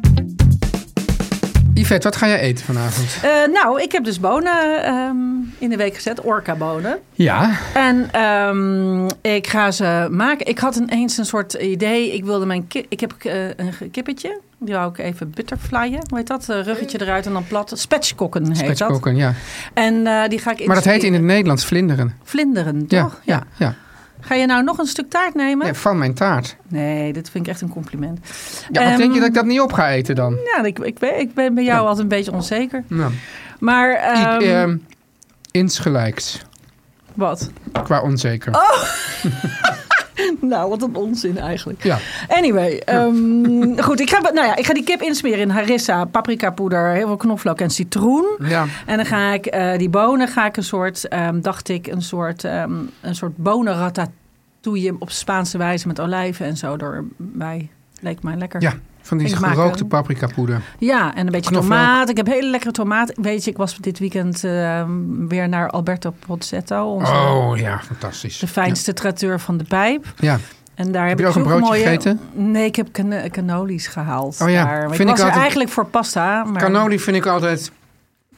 Speaker 3: Yvette, wat ga jij eten vanavond?
Speaker 4: Eh, nou, ik heb dus bonen ehm, in de week gezet. Orca-bonen.
Speaker 3: Ja,
Speaker 4: En ehm, ik ga ze maken. Ik had ineens een soort idee. Ik wilde mijn ki- Ik heb eh, een ge- kippetje. Die wou ik even butterflyen. Hoe heet dat? Eh, ruggetje
Speaker 3: Mm.
Speaker 4: eruit en dan plat. Spetskokken heet dat.
Speaker 3: spetskoken, ja.
Speaker 4: En eh, die ga ik
Speaker 3: Maar dat heet in het
Speaker 4: een
Speaker 3: Nederlands vlinderen.
Speaker 4: Vlinderen,
Speaker 3: Ja,
Speaker 4: toch?
Speaker 3: ja, ja.
Speaker 4: Ga je nou nog een stuk taart nemen?
Speaker 3: Nee, van mijn taart.
Speaker 4: Nee, dit vind ik echt een compliment.
Speaker 3: Ja, wat denk je
Speaker 4: Ehm,
Speaker 3: dat ik dat niet op ga eten dan?
Speaker 4: Ja, ik, ik, ben, ik ben bij jou altijd een beetje onzeker.
Speaker 3: Nou,
Speaker 4: Maar
Speaker 3: ik,
Speaker 4: ehm,
Speaker 3: ehm, insgelijks,
Speaker 4: wat?
Speaker 3: qua onzeker.
Speaker 4: Oh! Nou, wat een onzin eigenlijk.
Speaker 3: Ja.
Speaker 4: Anyway, ehm, goed. Ik ga, nou ja, ik ga die kip insmeren in harissa, paprikapoeder, heel veel knoflook en citroen.
Speaker 3: ja.
Speaker 4: En dan ga ik eh, die bonen, ga ik een soort, ehm, dacht ik, een soort, ehm een soort bonenratatouille op Spaanse wijze met olijven en zo erbij. Leek mij lekker.
Speaker 3: Ja, van die
Speaker 4: Ik maak
Speaker 3: gerookte
Speaker 4: hem.
Speaker 3: paprikapoeder.
Speaker 4: Ja, en een beetje
Speaker 3: Knoflook.
Speaker 4: tomaat. Ik heb hele lekkere tomaat. Weet je, ik was dit weekend ehm, weer naar Alberto Pozzetto, onze,
Speaker 3: Oh ja, fantastisch.
Speaker 4: de fijnste traiteur van de pijp.
Speaker 3: Ja,
Speaker 4: En daar
Speaker 3: Heb
Speaker 4: heb,
Speaker 3: je
Speaker 4: ik
Speaker 3: ook een
Speaker 4: zulke
Speaker 3: broodje
Speaker 4: mooie...
Speaker 3: gegeten?
Speaker 4: Nee, ik heb can cannolis gehaald.
Speaker 3: Oh ja,
Speaker 4: daar.
Speaker 3: vind
Speaker 4: Maar ik
Speaker 3: ik
Speaker 4: was er
Speaker 3: altijd-
Speaker 4: eigenlijk voor pasta. Maar...
Speaker 3: cannoli vind ik altijd,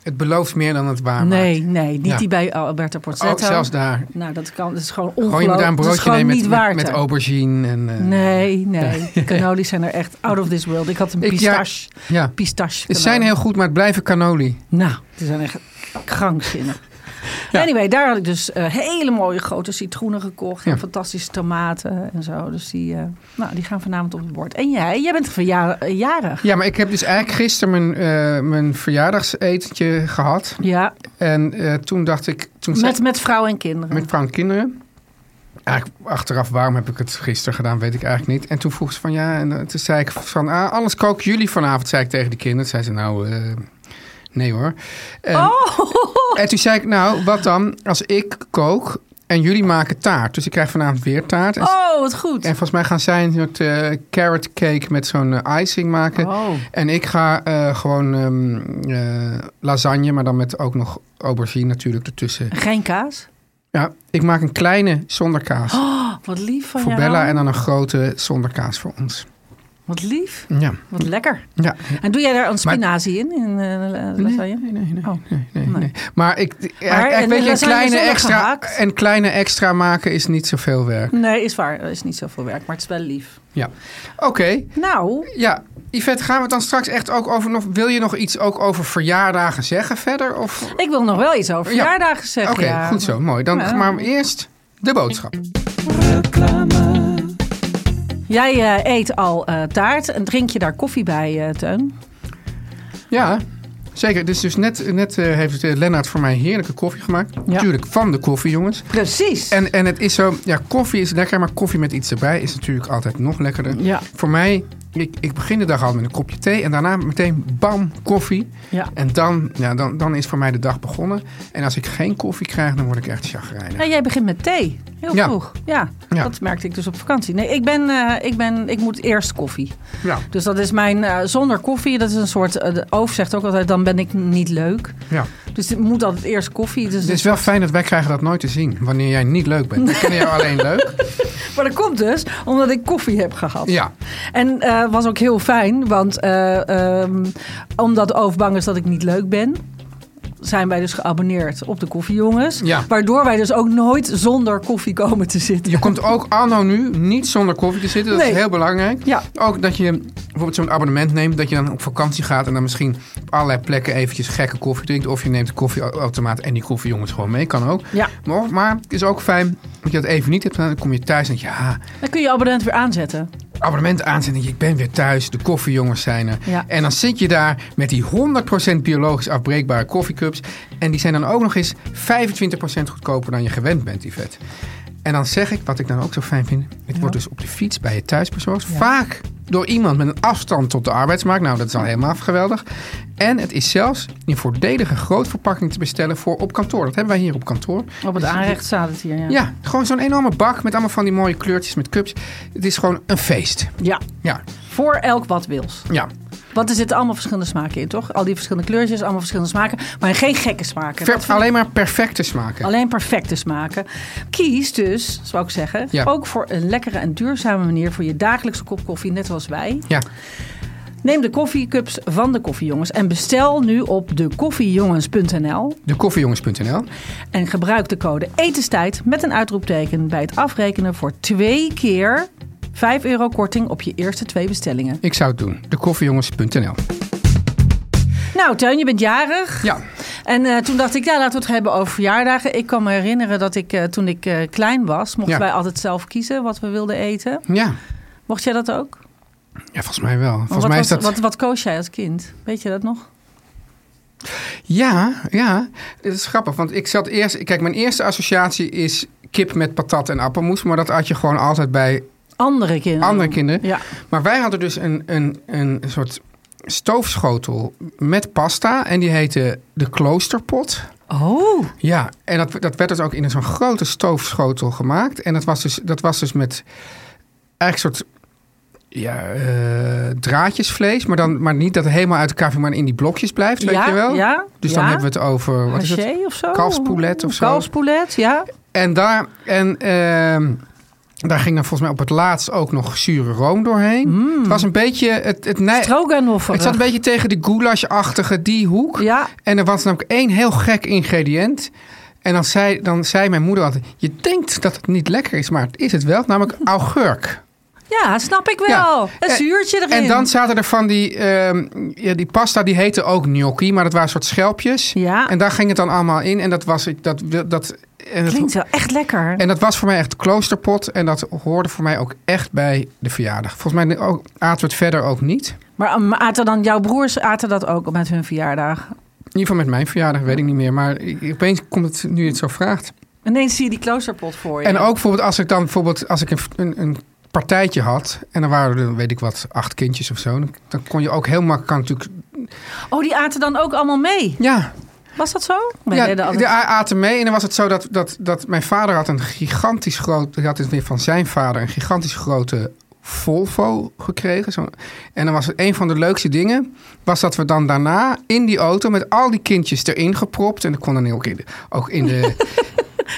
Speaker 3: het belooft meer dan het waar
Speaker 4: Nee, nee, niet
Speaker 3: Ja.
Speaker 4: die bij Alberto
Speaker 3: maakt.
Speaker 4: Pozzetto.
Speaker 3: Ook zelfs daar.
Speaker 4: Nou, dat, kan, dat is gewoon
Speaker 3: Gewoon je
Speaker 4: ongelooflijk.
Speaker 3: moet daar een
Speaker 4: dat is
Speaker 3: broodje
Speaker 4: gewoon
Speaker 3: nemen
Speaker 4: niet
Speaker 3: met, met,
Speaker 4: waard.
Speaker 3: met
Speaker 4: hè.
Speaker 3: aubergine. En, eh,
Speaker 4: Nee, nee. Cannolis zijn er echt out of this world. Ik had een
Speaker 3: Ik- ja.
Speaker 4: pistache.
Speaker 3: Ja.
Speaker 4: pistache
Speaker 3: Het zijn
Speaker 4: cannoli.
Speaker 3: heel goed, maar het blijven cannoli.
Speaker 4: Nou, die zijn echt krankzinnig. Anyway, daar had ik dus eh, hele mooie grote citroenen gekocht.
Speaker 3: Ja.
Speaker 4: En fantastische tomaten en zo. Dus die, eh, nou, die gaan vanavond op het bord. En jij? Jij bent verja- eh, jarig.
Speaker 3: Ja, maar ik heb dus eigenlijk gisteren mijn, eh, mijn verjaardagsetentje gehad.
Speaker 4: Ja,
Speaker 3: En eh, toen dacht ik... Toen zei-
Speaker 4: met, met vrouwen en kinderen.
Speaker 3: Met vrouw en kinderen. Eigenlijk achteraf, waarom heb ik het gisteren gedaan, weet ik eigenlijk niet. En toen vroeg ze van ja, en eh, toen zei ik van ah, alles koken jullie vanavond, zei ik tegen de kinderen. Toen zei ze nou, eh, nee hoor. En,
Speaker 4: Oh!
Speaker 3: en toen zei ik nou, wat dan als ik kook en jullie maken taart. Dus ik krijg vanavond weer taart. En,
Speaker 4: Oh, wat goed.
Speaker 3: en volgens mij gaan zij een soort eh, carrot cake met zo'n eh, icing maken.
Speaker 4: Oh.
Speaker 3: En ik ga eh, gewoon ehm, eh, lasagne, maar dan met ook nog aubergine natuurlijk ertussen.
Speaker 4: Geen kaas?
Speaker 3: Ja, ik maak een kleine zonder kaas
Speaker 4: Oh, wat lief van
Speaker 3: voor
Speaker 4: jou.
Speaker 3: Bella en dan een grote zonder kaas voor ons.
Speaker 4: Wat lief.
Speaker 3: Ja.
Speaker 4: Wat lekker.
Speaker 3: ja.
Speaker 4: En doe jij daar een spinazie in? in eh, eh, lasagne?
Speaker 3: Nee, nee, nee.
Speaker 4: Oh.
Speaker 3: nee, nee,
Speaker 4: Nee.
Speaker 3: nee. Maar ik,
Speaker 4: en
Speaker 3: eigenlijk weet
Speaker 4: de
Speaker 3: je, een
Speaker 4: lasagne
Speaker 3: kleine,
Speaker 4: zonder
Speaker 3: extra,
Speaker 4: gehakt?
Speaker 3: een kleine extra maken is niet zoveel werk.
Speaker 4: Nee, is waar. Er is niet zoveel werk, maar het is wel lief.
Speaker 3: Ja. Oké,
Speaker 4: Nou,
Speaker 3: ja. Yvette, gaan we het dan straks echt ook over nog... Wil je nog iets ook over verjaardagen zeggen verder? Of... Oké,
Speaker 4: ik wil nog wel iets over
Speaker 3: Ja.
Speaker 4: verjaardagen zeggen. ja.
Speaker 3: goed zo, mooi. Dan
Speaker 4: Ja.
Speaker 3: maar eerst de boodschap.
Speaker 4: Jij eh, eet al eh, taart en drink je daar koffie bij, eh, Teun?
Speaker 3: Ja, zeker. Dus, dus net, net eh, heeft eh, Lennart voor mij heerlijke koffie gemaakt. Natuurlijk van de koffie, jongens.
Speaker 4: Precies.
Speaker 3: En, en het is zo, ja, koffie is lekker, maar koffie met iets erbij is natuurlijk altijd nog lekkerder.
Speaker 4: Ja.
Speaker 3: Voor mij, ik, ik begin de dag al met een kopje thee en daarna meteen bam, koffie.
Speaker 4: Ja.
Speaker 3: En dan, ja, dan, dan is voor mij de dag begonnen. En als ik geen koffie krijg, dan word ik echt chagrijnig.
Speaker 4: Ja, jij begint met thee. Heel
Speaker 3: Ja.
Speaker 4: vroeg. Ja,
Speaker 3: Ja.
Speaker 4: dat merkte ik dus op vakantie. Nee, ik, ben, eh, ik, ben, ik moet eerst koffie.
Speaker 3: Ja,
Speaker 4: Dus dat is mijn eh, zonder koffie. Dat is een soort. eh, de Oof zegt ook altijd: dan ben ik niet leuk.
Speaker 3: ja.
Speaker 4: Dus het moet altijd eerst koffie. Dus
Speaker 3: Het is wel fijn dat wij krijgen dat nooit te zien, wanneer jij niet leuk bent. We kennen jou alleen leuk.
Speaker 4: Maar dat komt dus omdat ik koffie heb gehad.
Speaker 3: Ja.
Speaker 4: En eh was ook heel fijn, want eh, ehm, omdat Oof bang is dat ik niet leuk ben. Zijn wij dus geabonneerd op de koffiejongens.
Speaker 3: Ja.
Speaker 4: Waardoor wij dus ook nooit zonder koffie komen te zitten.
Speaker 3: Je komt ook anno nu niet zonder koffie te zitten. Dat
Speaker 4: Nee.
Speaker 3: is heel belangrijk.
Speaker 4: Ja.
Speaker 3: Ook dat je bijvoorbeeld zo'n abonnement neemt. Dat je dan op vakantie gaat en dan misschien op allerlei plekken eventjes gekke koffie drinkt. Of je neemt de koffieautomaat en die koffiejongens gewoon mee. Kan ook.
Speaker 4: Ja.
Speaker 3: Maar, maar het is ook fijn dat je dat even niet hebt. gedaan. Dan kom je thuis en denk je, ha,
Speaker 4: Dan kun je je abonnement weer aanzetten.
Speaker 3: abonnement aanzetten. denk je, Ik ben weer thuis. De koffiejongens zijn er.
Speaker 4: Ja.
Speaker 3: En dan zit je daar met die 100% biologisch afbreekbare koffiecups. En die zijn dan ook nog eens 25% goedkoper dan je gewend bent, die vet. En dan zeg ik, wat ik dan ook zo fijn vind. Het wordt dus op de fiets bij je thuisbezorgd. Vaak door iemand met een afstand tot de arbeidsmarkt. Nou, dat is al helemaal geweldig. En het is zelfs in voordelige grootverpakking te bestellen voor op kantoor. Dat hebben wij hier op kantoor.
Speaker 4: Op het aanrecht staat het hier, ja.
Speaker 3: Ja, gewoon zo'n enorme bak met allemaal van die mooie kleurtjes met cups. Het is gewoon een feest.
Speaker 4: Ja,
Speaker 3: Ja,
Speaker 4: voor elk wat wils.
Speaker 3: ja.
Speaker 4: Want er zitten allemaal verschillende smaken in, toch? Al die verschillende kleurtjes, allemaal verschillende smaken. Maar geen gekke smaken.
Speaker 3: Ver-
Speaker 4: Dat vind ik-
Speaker 3: alleen maar perfecte smaken.
Speaker 4: Alleen perfecte smaken. Kies dus, zou ik zeggen,
Speaker 3: Ja.
Speaker 4: ook voor een lekkere en duurzame manier voor je dagelijkse kop koffie, net zoals wij.
Speaker 3: Ja,
Speaker 4: Neem de koffiecups van de koffiejongens en bestel nu op dekoffiejongens.nl
Speaker 3: dekoffiejongens.nl.
Speaker 4: en gebruik de code etenstijd met een uitroepteken bij het afrekenen voor twee keer 5 euro korting op je eerste twee bestellingen.
Speaker 3: Ik zou het doen. Dekoffiejongens.nl.
Speaker 4: Nou, Teun, je bent jarig.
Speaker 3: Ja,
Speaker 4: En eh, toen dacht ik, ja, laten we het hebben over verjaardagen. Ik kan me herinneren dat ik eh, toen ik eh, klein was, mochten
Speaker 3: Ja.
Speaker 4: wij altijd zelf kiezen wat we wilden eten.
Speaker 3: ja.
Speaker 4: Mocht jij dat ook?
Speaker 3: Ja, volgens mij wel. Volgens
Speaker 4: wat,
Speaker 3: mij is
Speaker 4: was-
Speaker 3: dat...
Speaker 4: wat, wat koos jij als kind? Weet je dat nog?
Speaker 3: Ja, ja. Het is grappig, want ik zat eerst... Kijk, mijn eerste associatie is kip met patat en appelmoes. Maar dat had je gewoon altijd bij
Speaker 4: Andere kinderen.
Speaker 3: andere kinderen.
Speaker 4: Ja.
Speaker 3: Maar wij hadden dus een, een, een soort stoofschotel met pasta. En die heette de kloosterpot.
Speaker 4: Oh,
Speaker 3: Ja, en dat, dat werd dus ook in zo'n grote stoofschotel gemaakt. En dat was dus, dat was dus met eigenlijk soort ja, eh, draadjesvlees. Maar, dan, maar niet dat het helemaal uit elkaar viel, maar in die blokjes blijft, weet
Speaker 4: ja,
Speaker 3: je wel.
Speaker 4: ja.
Speaker 3: Dus dan hebben we het over... Wat is het?
Speaker 4: Haché of zo?
Speaker 3: Kalfspoulet of zo.
Speaker 4: Kalfspoulet, ja.
Speaker 3: En daar, en, ehm, daar ging dan volgens mij op het laatst ook nog zure room doorheen.
Speaker 4: Mm.
Speaker 3: Het was een beetje... Het, het, nij-
Speaker 4: Stroganoffer.
Speaker 3: het zat een beetje tegen de goulash-achtige die hoek.
Speaker 4: Ja,
Speaker 3: En er was namelijk één heel gek ingrediënt. En dan zei, dan zei mijn moeder altijd... Je denkt dat het niet lekker is, maar het is het wel. Namelijk augurk.
Speaker 4: ja, snap ik
Speaker 3: Ja.
Speaker 4: wel. Een
Speaker 3: En-
Speaker 4: zuurtje erin.
Speaker 3: En dan zaten er van die... ehm, ja, die pasta, die heette ook gnocchi. Maar dat waren soort schelpjes.
Speaker 4: Ja.
Speaker 3: En daar ging het dan allemaal in. En dat was... Dat, dat, en dat,
Speaker 4: Klinkt wel echt lekker.
Speaker 3: en dat was voor mij echt kloosterpot. En dat hoorde voor mij ook echt bij de verjaardag. Volgens mij ook, aten we het verder ook niet.
Speaker 4: Maar um, aten dan, jouw broers aten dat ook met hun verjaardag?
Speaker 3: In ieder geval met mijn verjaardag, weet ik niet meer. Maar ik- opeens komt het, nu je het zo vraagt...
Speaker 4: Ineens zie je die kloosterpot voor je.
Speaker 3: En ook bijvoorbeeld als ik dan bijvoorbeeld als ik een, een, een partijtje had en dan waren er weet ik wat acht kindjes of zo, dan, dan kon je ook heel makkelijk natuurlijk
Speaker 4: Oh, die aten dan ook allemaal mee.
Speaker 3: ja,
Speaker 4: Was dat zo? Wij
Speaker 3: ja
Speaker 4: deden
Speaker 3: de,
Speaker 4: altijd-
Speaker 3: a- aten mee en dan was het zo dat, dat, dat mijn vader had een gigantisch groot, die had het weer van zijn vader een gigantisch grote Volvo gekregen. Zo. En dan was het een van de leukste dingen, was dat we dan daarna in die auto met al die kindjes erin gepropt en dat kon dan ook in de, ook in de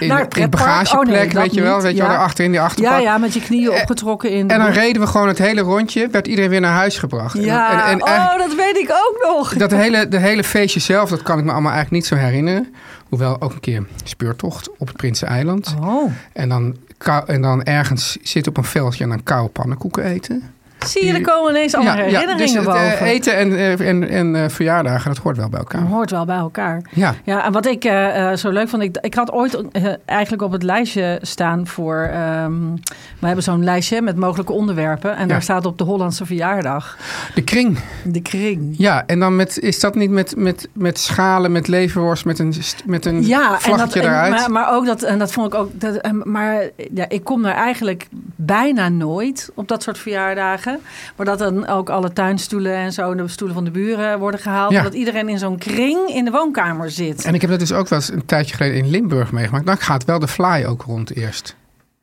Speaker 3: in,
Speaker 4: Naar
Speaker 3: de-
Speaker 4: het
Speaker 3: in de
Speaker 4: pretpark?
Speaker 3: bagagepak,
Speaker 4: Oh, nee, dat
Speaker 3: weet je wel,
Speaker 4: niet.
Speaker 3: weet je wel,
Speaker 4: Ja.
Speaker 3: daarachter in die achterpak.
Speaker 4: ja, ja, met je knieën opgetrokken in. de
Speaker 3: Eh, En dan
Speaker 4: broek.
Speaker 3: reden we gewoon het hele rondje, werd iedereen weer naar huis gebracht. En,
Speaker 4: Mhm. Ja,
Speaker 3: en, en
Speaker 4: oh,
Speaker 3: eigenlijk-
Speaker 4: dat weet ik ook nog.
Speaker 3: dat hele, de hele feestje zelf, dat kan ik me allemaal eigenlijk niet zo herinneren. Hoewel ook een keer een speurtocht op het Prinseneiland.
Speaker 4: Oh,
Speaker 3: En, dan, kou- en dan ergens zitten op een veldje en dan koude pannenkoeken eten.
Speaker 4: zie je, er
Speaker 3: Die-
Speaker 4: komen ineens allemaal herinneringen
Speaker 3: dus het, eh,
Speaker 4: boven.
Speaker 3: eten en, eh, en, en eh, verjaardagen, dat hoort wel bij elkaar.
Speaker 4: Hoort wel bij elkaar.
Speaker 3: Ja,
Speaker 4: Ja, en wat ik eh, eh, zo leuk vond, ik, ik had ooit eh, eigenlijk op het lijstje staan voor. ehm, we hebben zo'n lijstje met mogelijke onderwerpen. En daar staat op de Hollandse verjaardag.
Speaker 3: de kring.
Speaker 4: De kring.
Speaker 3: Ja, en dan met, is dat niet met, met, met schalen, met leverworst, met een, st- met een
Speaker 4: Ja, en dat,
Speaker 3: vlaggetje
Speaker 4: en-
Speaker 3: eruit?
Speaker 4: maar, maar ook dat, en dat vond ik ook. Dat, en- maar ja, ik kom daar eigenlijk bijna nooit op dat soort verjaardagen. Maar dat dan ook alle tuinstoelen en zo, de stoelen van de buren worden gehaald.
Speaker 3: Ja.
Speaker 4: en Dat iedereen in zo'n kring in de woonkamer zit.
Speaker 3: En ik heb dat dus ook wel eens een tijdje geleden in Limburg meegemaakt. Dan gaat wel de fly ook rond eerst.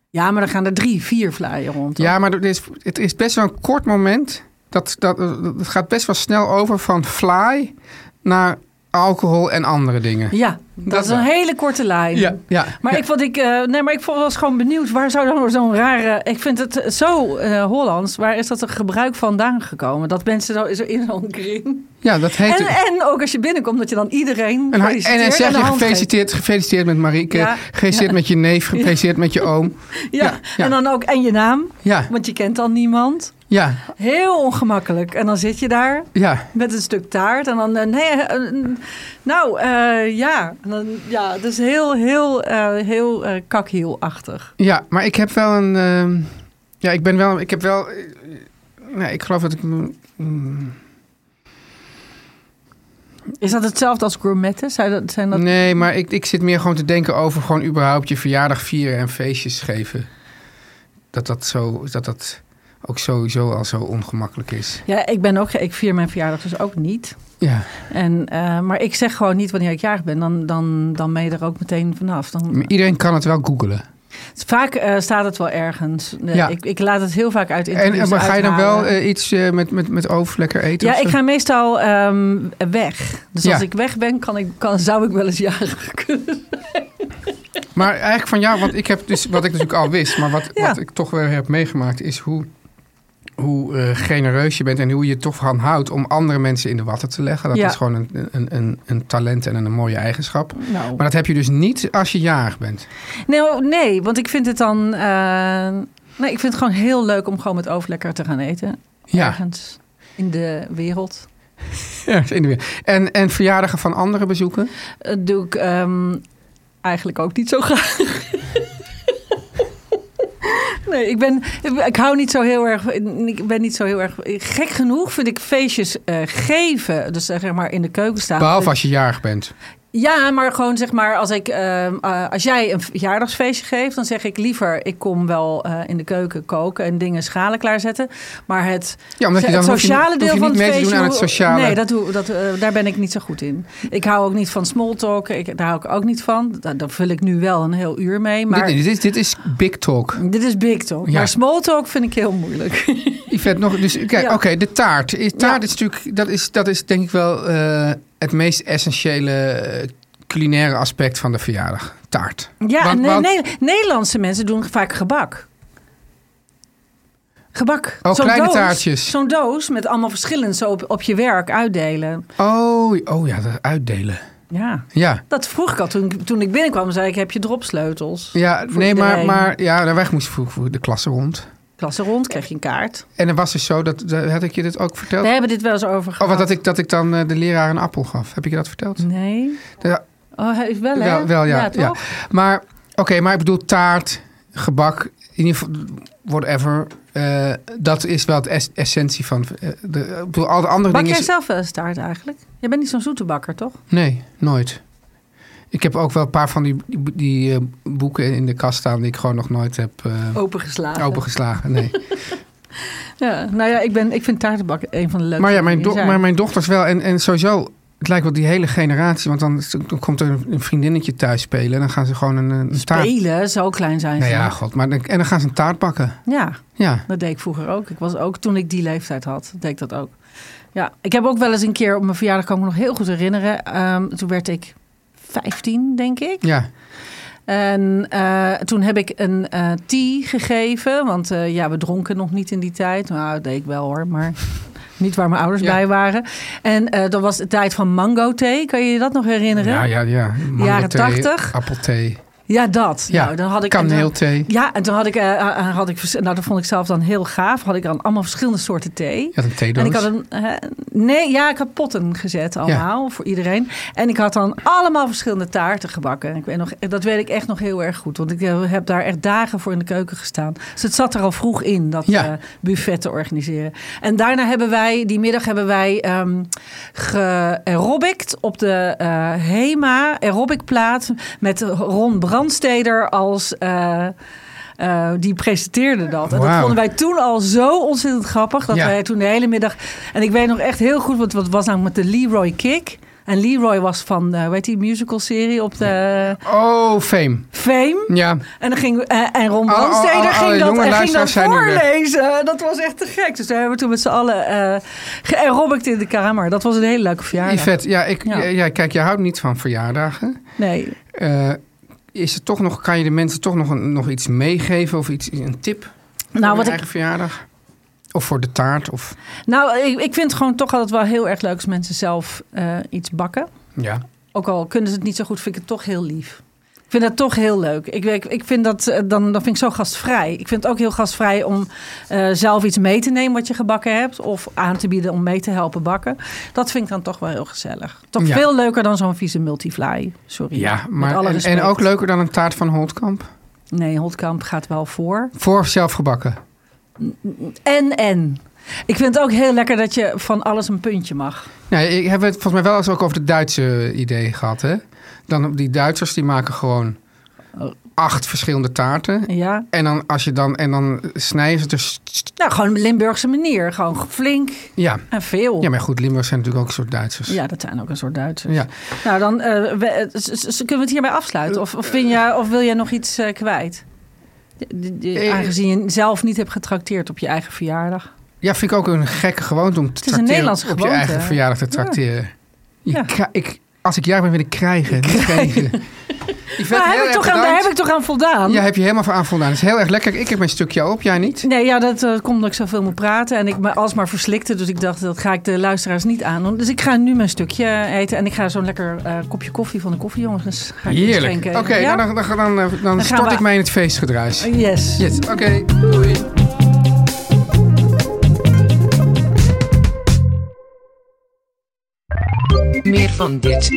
Speaker 4: Ja, maar dan gaan er drie, vier vlaaien rond.
Speaker 3: Ja, maar er is, het is best wel een kort moment. Dat, dat, het gaat best wel snel over van fly naar alcohol en andere dingen.
Speaker 4: Ja, dat,
Speaker 3: Dat
Speaker 4: is een
Speaker 3: wel.
Speaker 4: hele korte lijn.
Speaker 3: ja.
Speaker 4: Maar, ik vond ik, eh, nee, maar ik vond- was gewoon benieuwd, waar zou dan zo'n rare... Ik vind het zo eh, Hollands, waar is dat een gebruik vandaan gekomen? Dat mensen zo, zo in zo'n kring...
Speaker 3: ja, dat heet...
Speaker 4: En, en ook als je binnenkomt, dat je dan iedereen Nou,
Speaker 3: en, hij- en
Speaker 4: feliciteert
Speaker 3: dan zeg
Speaker 4: de
Speaker 3: je
Speaker 4: hand
Speaker 3: gefeliciteerd, gefeliciteerd met Marieke,
Speaker 4: Ja.
Speaker 3: gefeliciteerd met je neef, gefeliciteerd met je oom.
Speaker 4: geeft. Ja.
Speaker 3: Ja, ja.
Speaker 4: en dan ook en je naam,
Speaker 3: Ja,
Speaker 4: want je kent dan niemand.
Speaker 3: ja,
Speaker 4: Heel ongemakkelijk. En dan zit je daar
Speaker 3: ja.
Speaker 4: met een stuk taart en dan... eh, nee, eh, eh, nou, eh, ja. En dan, ja, het is heel, heel, eh, heel eh kakhielachtig.
Speaker 3: Ja, maar ik heb wel een. ehm, ja, ik ben wel. Ik heb wel. eh, nou, ik geloof dat ik. mm, mm,
Speaker 4: Is dat hetzelfde als gourmetten? Zijn dat, zijn dat...
Speaker 3: Nee, maar ik, ik zit meer gewoon te denken over gewoon überhaupt je verjaardag vieren en feestjes geven. Dat dat zo, dat dat... ook sowieso al zo ongemakkelijk is.
Speaker 4: Ja, ik ben ook, ik vier mijn verjaardag dus ook niet.
Speaker 3: Ja,
Speaker 4: En, eh, maar ik zeg gewoon niet wanneer ik jarig ben. Dan, dan, dan ben je er ook meteen vanaf. Dan,
Speaker 3: maar iedereen kan het wel googelen.
Speaker 4: vaak eh, staat het wel ergens. Eh,
Speaker 3: Ja.
Speaker 4: ik, ik laat het heel vaak uit
Speaker 3: En,
Speaker 4: interviews
Speaker 3: eh, maar ga je dan
Speaker 4: uithalen.
Speaker 3: wel eh, iets eh, met, met, met overvlekker eten?
Speaker 4: Ja,
Speaker 3: of zo?
Speaker 4: ik ga meestal ehm, weg. Dus
Speaker 3: Ja.
Speaker 4: als ik weg ben, kan ik, kan, zou ik wel eens jarig kunnen.
Speaker 3: Maar eigenlijk van jou, want ik heb dus, wat ik natuurlijk al wist, maar wat,
Speaker 4: Ja.
Speaker 3: wat ik toch weer heb meegemaakt, is hoe, hoe eh, genereus je bent en hoe je toch van houdt om andere mensen in de watten te leggen. Dat
Speaker 4: Ja.
Speaker 3: is gewoon een, een, een, een talent en een mooie eigenschap.
Speaker 4: Nou.
Speaker 3: Maar dat heb je dus niet als je jarig bent.
Speaker 4: Nee, Nou, nee, want ik vind het dan... eh, nee, ik vind het gewoon heel leuk om gewoon met overlekker te gaan eten.
Speaker 3: Ja,
Speaker 4: Ergens in de wereld.
Speaker 3: ergens in de weer. En, en verjaardagen van anderen bezoeken?
Speaker 4: Dat Eh, doe ik ehm, eigenlijk ook niet zo graag. Nee, ik, ben, ik hou niet zo heel erg. Ik ben niet zo heel erg. Gek genoeg vind ik feestjes eh, geven. Dus zeg maar in de keuken staan.
Speaker 3: Behalve als je jarig bent.
Speaker 4: Ja, maar gewoon zeg maar als, ik, ehm, eh, als jij een verjaardagsfeestje geeft, dan zeg ik liever: ik kom wel eh, in de keuken koken en dingen schalen klaarzetten. Maar het,
Speaker 3: Ja, omdat je dan
Speaker 4: het
Speaker 3: hoef je niet-
Speaker 4: sociale
Speaker 3: hoef je
Speaker 4: deel
Speaker 3: niet
Speaker 4: van het
Speaker 3: mee te
Speaker 4: feestje.
Speaker 3: doen aan
Speaker 4: hoe-
Speaker 3: het sociale.
Speaker 4: Nee, dat doe, dat, eh, daar ben ik niet zo goed in. Ik hou ook niet van smalltalk. Ik, daar hou ik ook niet van. Daar, daar vul ik nu wel een heel uur mee. Maar
Speaker 3: Dit,
Speaker 4: dit,
Speaker 3: dit, is, dit is big talk.
Speaker 4: is big talk.
Speaker 3: Ja.
Speaker 4: Maar smalltalk vind ik heel moeilijk.
Speaker 3: Yvette, nog, dus kijk,
Speaker 4: Ja.
Speaker 3: oké, de taart. Is- Taart
Speaker 4: Ja.
Speaker 3: is natuurlijk, dat is, dat is denk ik wel eh, het meest essentiële eh, culinaire aspect van de verjaardag. Taart.
Speaker 4: Ja,
Speaker 3: Want-
Speaker 4: nee,
Speaker 3: want-
Speaker 4: nee, Nederlandse mensen doen vaak gebak. Gebak.
Speaker 3: Oh, kleine
Speaker 4: doos,
Speaker 3: taartjes.
Speaker 4: Zo'n doos met allemaal verschillend zo op, op je werk uitdelen.
Speaker 3: Oh, oh ja, dat uitdelen.
Speaker 4: Ja.
Speaker 3: Ja,
Speaker 4: Dat vroeg ik al toen, ik- toen ik binnenkwam. zei ik, heb je dropsleutels?
Speaker 3: ja
Speaker 4: Voor
Speaker 3: nee, maar,
Speaker 4: iedereen.
Speaker 3: maar ja, daar weg moest vroeg voor de klasse rond.
Speaker 4: Klasse rond, kreeg je een kaart.
Speaker 3: En dan was dus zo, dat, dat- had ik je dit ook verteld?
Speaker 4: We hebben dit wel eens over
Speaker 3: Oh,
Speaker 4: gehad.
Speaker 3: wat dat ik, dat ik dan eh, de leraar een appel gaf. Heb ik je dat verteld?
Speaker 4: Mm. Nee.
Speaker 3: Ja,
Speaker 4: Oh, hij- wel, hè?
Speaker 3: wel, wel, ja. ja,
Speaker 4: toch?
Speaker 3: Maar, oké, maar ik bedoel taart, gebak, in ieder geval, whatever. eh, dat is wel de es- essentie van... eh, de, ik bedoel, al de andere
Speaker 4: Bak
Speaker 3: dingen...
Speaker 4: jij
Speaker 3: is-
Speaker 4: zelf wel eens taart eigenlijk? Jij bent niet zo'n zoete bakker, toch?
Speaker 3: Nee, nooit. Ik heb ook wel een paar van die, die, die, eh, boeken in de kast staan... die ik gewoon nog nooit heb
Speaker 4: Oh,
Speaker 3: eh
Speaker 4: Opengeslagen.
Speaker 3: opengeslagen. Nee.
Speaker 4: Ja. Nou ja, ik, ben, ik vind taartenbakken een van de leukste
Speaker 3: maar ja, mijn,
Speaker 4: dingen
Speaker 3: do-
Speaker 4: die er
Speaker 3: maar
Speaker 4: zijn.
Speaker 3: mijn dochters wel. En, en sowieso, het lijkt wel die hele generatie... want dan, dan komt er een vriendinnetje thuis spelen... en dan gaan ze gewoon een, een taart...
Speaker 4: Spelen, zo klein zijn ze.
Speaker 3: Nou ja, god. Maar dan, en dan gaan ze een taart bakken.
Speaker 4: ja.
Speaker 3: Ja.
Speaker 4: Dat deed ik vroeger ook. Ik was ook toen ik die leeftijd had, deed ik dat ook. Ja, ik heb ook wel eens een keer op mijn verjaardag, kan ik me nog heel goed herinneren. ehm, toen werd ik 15, denk ik.
Speaker 3: Ja,
Speaker 4: En eh, toen heb ik een eh tea gegeven. Want eh, ja, we dronken nog niet in die tijd. Nou, dat deed ik wel hoor, maar niet waar mijn ouders
Speaker 3: Ja.
Speaker 4: bij waren. En eh, dat was de tijd van mango thee. Kan je je dat nog herinneren?
Speaker 3: ja, ja. ja. Mango
Speaker 4: Jaren
Speaker 3: thee,
Speaker 4: 80.
Speaker 3: Appelthee.
Speaker 4: Ja, dat.
Speaker 3: Ja,
Speaker 4: nou, dan had ik
Speaker 3: kaneelthee.
Speaker 4: Ja, en toen had ik, eh, had ik, vers- nou dat vond ik zelf dan heel gaaf, had ik dan allemaal verschillende soorten thee.
Speaker 3: Je had een theedoos.
Speaker 4: En ik had een. hè, nee, ja, ik had potten gezet allemaal voor iedereen. En ik had dan allemaal verschillende taarten gebakken. En Ik weet nog, dat weet ik echt nog heel erg goed. Want ik eh, heb daar echt dagen voor in de keuken gestaan. Dus het zat er al vroeg in dat
Speaker 3: Ja.
Speaker 4: eh, buffet te organiseren. En daarna hebben wij, die middag hebben wij ehm geaerobict op de eh, HEMA aerobic plaat. Met Ron Brandsteder als. eh, eh, die presenteerde dat. En dat
Speaker 3: Wauw.
Speaker 4: vonden wij toen al zo ontzettend grappig. Dat
Speaker 3: Ja.
Speaker 4: wij toen de hele middag. En ik weet nog echt heel goed, want wat was namelijk met de Leroy Kick. En Leroy was van, eh, hoe heet die musicalserie op de
Speaker 3: Oh, fame.
Speaker 4: Fame.
Speaker 3: Ja,
Speaker 4: En, dan ging, eh, en Ron
Speaker 3: Alle-
Speaker 4: Brandsteder
Speaker 3: alle- alle
Speaker 4: ging dat,
Speaker 3: jonge oh,
Speaker 4: en ging dat
Speaker 3: luisteraars zijn nu weg.
Speaker 4: voorlezen. Dat was echt te gek. Dus daar hebben we toen met z'n allen eh geaerobict in de kamer. Dat was een hele leuke verjaardag.
Speaker 3: Yvette, ja, ik,
Speaker 4: Ja.
Speaker 3: ja. ja, kijk, je houdt niet van verjaardagen.
Speaker 4: Nee.
Speaker 3: Eh, is het toch nog, kan je de mensen toch nog, een, nog iets meegeven of iets, een tip voor
Speaker 4: Nou,
Speaker 3: hun
Speaker 4: wat ik,
Speaker 3: eigen verjaardag? Of voor de taart? Of,
Speaker 4: nou ik, ik vind het gewoon toch altijd wel heel erg leuk als mensen zelf eh, iets bakken.
Speaker 3: ja.
Speaker 4: Ook al kunnen ze het niet zo goed, vind ik het toch heel lief. Ik vind dat toch heel leuk. Ik, ik, ik vind dat, eh, dan, dan vind ik zo gastvrij. Ik vind het ook heel gastvrij om eh, zelf iets mee te nemen wat je gebakken hebt. Of aan te bieden om mee te helpen bakken. Dat vind ik dan toch wel heel gezellig. Toch
Speaker 3: Ja.
Speaker 4: veel leuker dan zo'n vieze multifly. Sorry.
Speaker 3: ja
Speaker 4: Met
Speaker 3: maar,
Speaker 4: alle
Speaker 3: en,
Speaker 4: respect.
Speaker 3: en ook leuker dan een taart van Holtkamp?
Speaker 4: Nee, Holtkamp gaat wel voor.
Speaker 3: Voor zelfgebakken.
Speaker 4: En, en. Ik vind het ook heel lekker dat je van alles een puntje mag.
Speaker 3: Nou, ik heb het volgens mij wel eens ook over het Duitse idee gehad, hè? Dan die Duitsers, die maken gewoon acht verschillende taarten.
Speaker 4: Ja.
Speaker 3: En dan, als je dan, en dan snijden ze dus...
Speaker 4: Nou, gewoon Limburgse manier. Gewoon flink
Speaker 3: Ja.
Speaker 4: en veel.
Speaker 3: ja, maar goed, Limburgers zijn natuurlijk ook een soort Duitsers.
Speaker 4: Ja, dat zijn ook een soort Duitsers.
Speaker 3: Ja.
Speaker 4: Nou, dan eh, we- eh, s- s- s- kunnen we het hierbij afsluiten. Of, of, vind jij, of wil jij nog iets eh, kwijt? D- d- d-
Speaker 3: Eh,
Speaker 4: Aangezien je zelf niet hebt getrakteerd op je eigen verjaardag.
Speaker 3: Ja, vind ik ook een gekke gewoonte om te
Speaker 4: is een
Speaker 3: trakteren
Speaker 4: Nederlandse
Speaker 3: op
Speaker 4: gewoonte,
Speaker 3: je eigen
Speaker 4: hè?
Speaker 3: verjaardag te trakteren. Je
Speaker 4: Ja.
Speaker 3: kra- ik, als ik jarig ben, wil ik krijgen. niet schenken. Yvette, heel
Speaker 4: Maar heb ik
Speaker 3: erg
Speaker 4: toch aan, daar
Speaker 3: bedankt.
Speaker 4: heb ik toch aan voldaan?
Speaker 3: Ja, heb je helemaal voor aanvoldaan. Dat is heel erg lekker. Ik heb mijn stukje op, jij niet?
Speaker 4: Nee, ja, dat eh, komt omdat ik zoveel moet praten. En ik me alsmaar verslikte. Dus ik dacht, dat ga ik de luisteraars niet aandoen. Dus ik ga nu mijn stukje eh, eten. En ik ga zo'n lekker eh, kopje koffie van de koffiejongens ga ik
Speaker 3: Heerlijk.
Speaker 4: schenken.
Speaker 3: Oké,
Speaker 4: Ja?
Speaker 3: nou, dan, dan, dan, eh, dan
Speaker 4: gaan
Speaker 3: stort
Speaker 4: we-
Speaker 3: ik mij in het feestgedruis.
Speaker 4: Yes.
Speaker 3: Yes, oké. Doei.
Speaker 5: Meer van dit.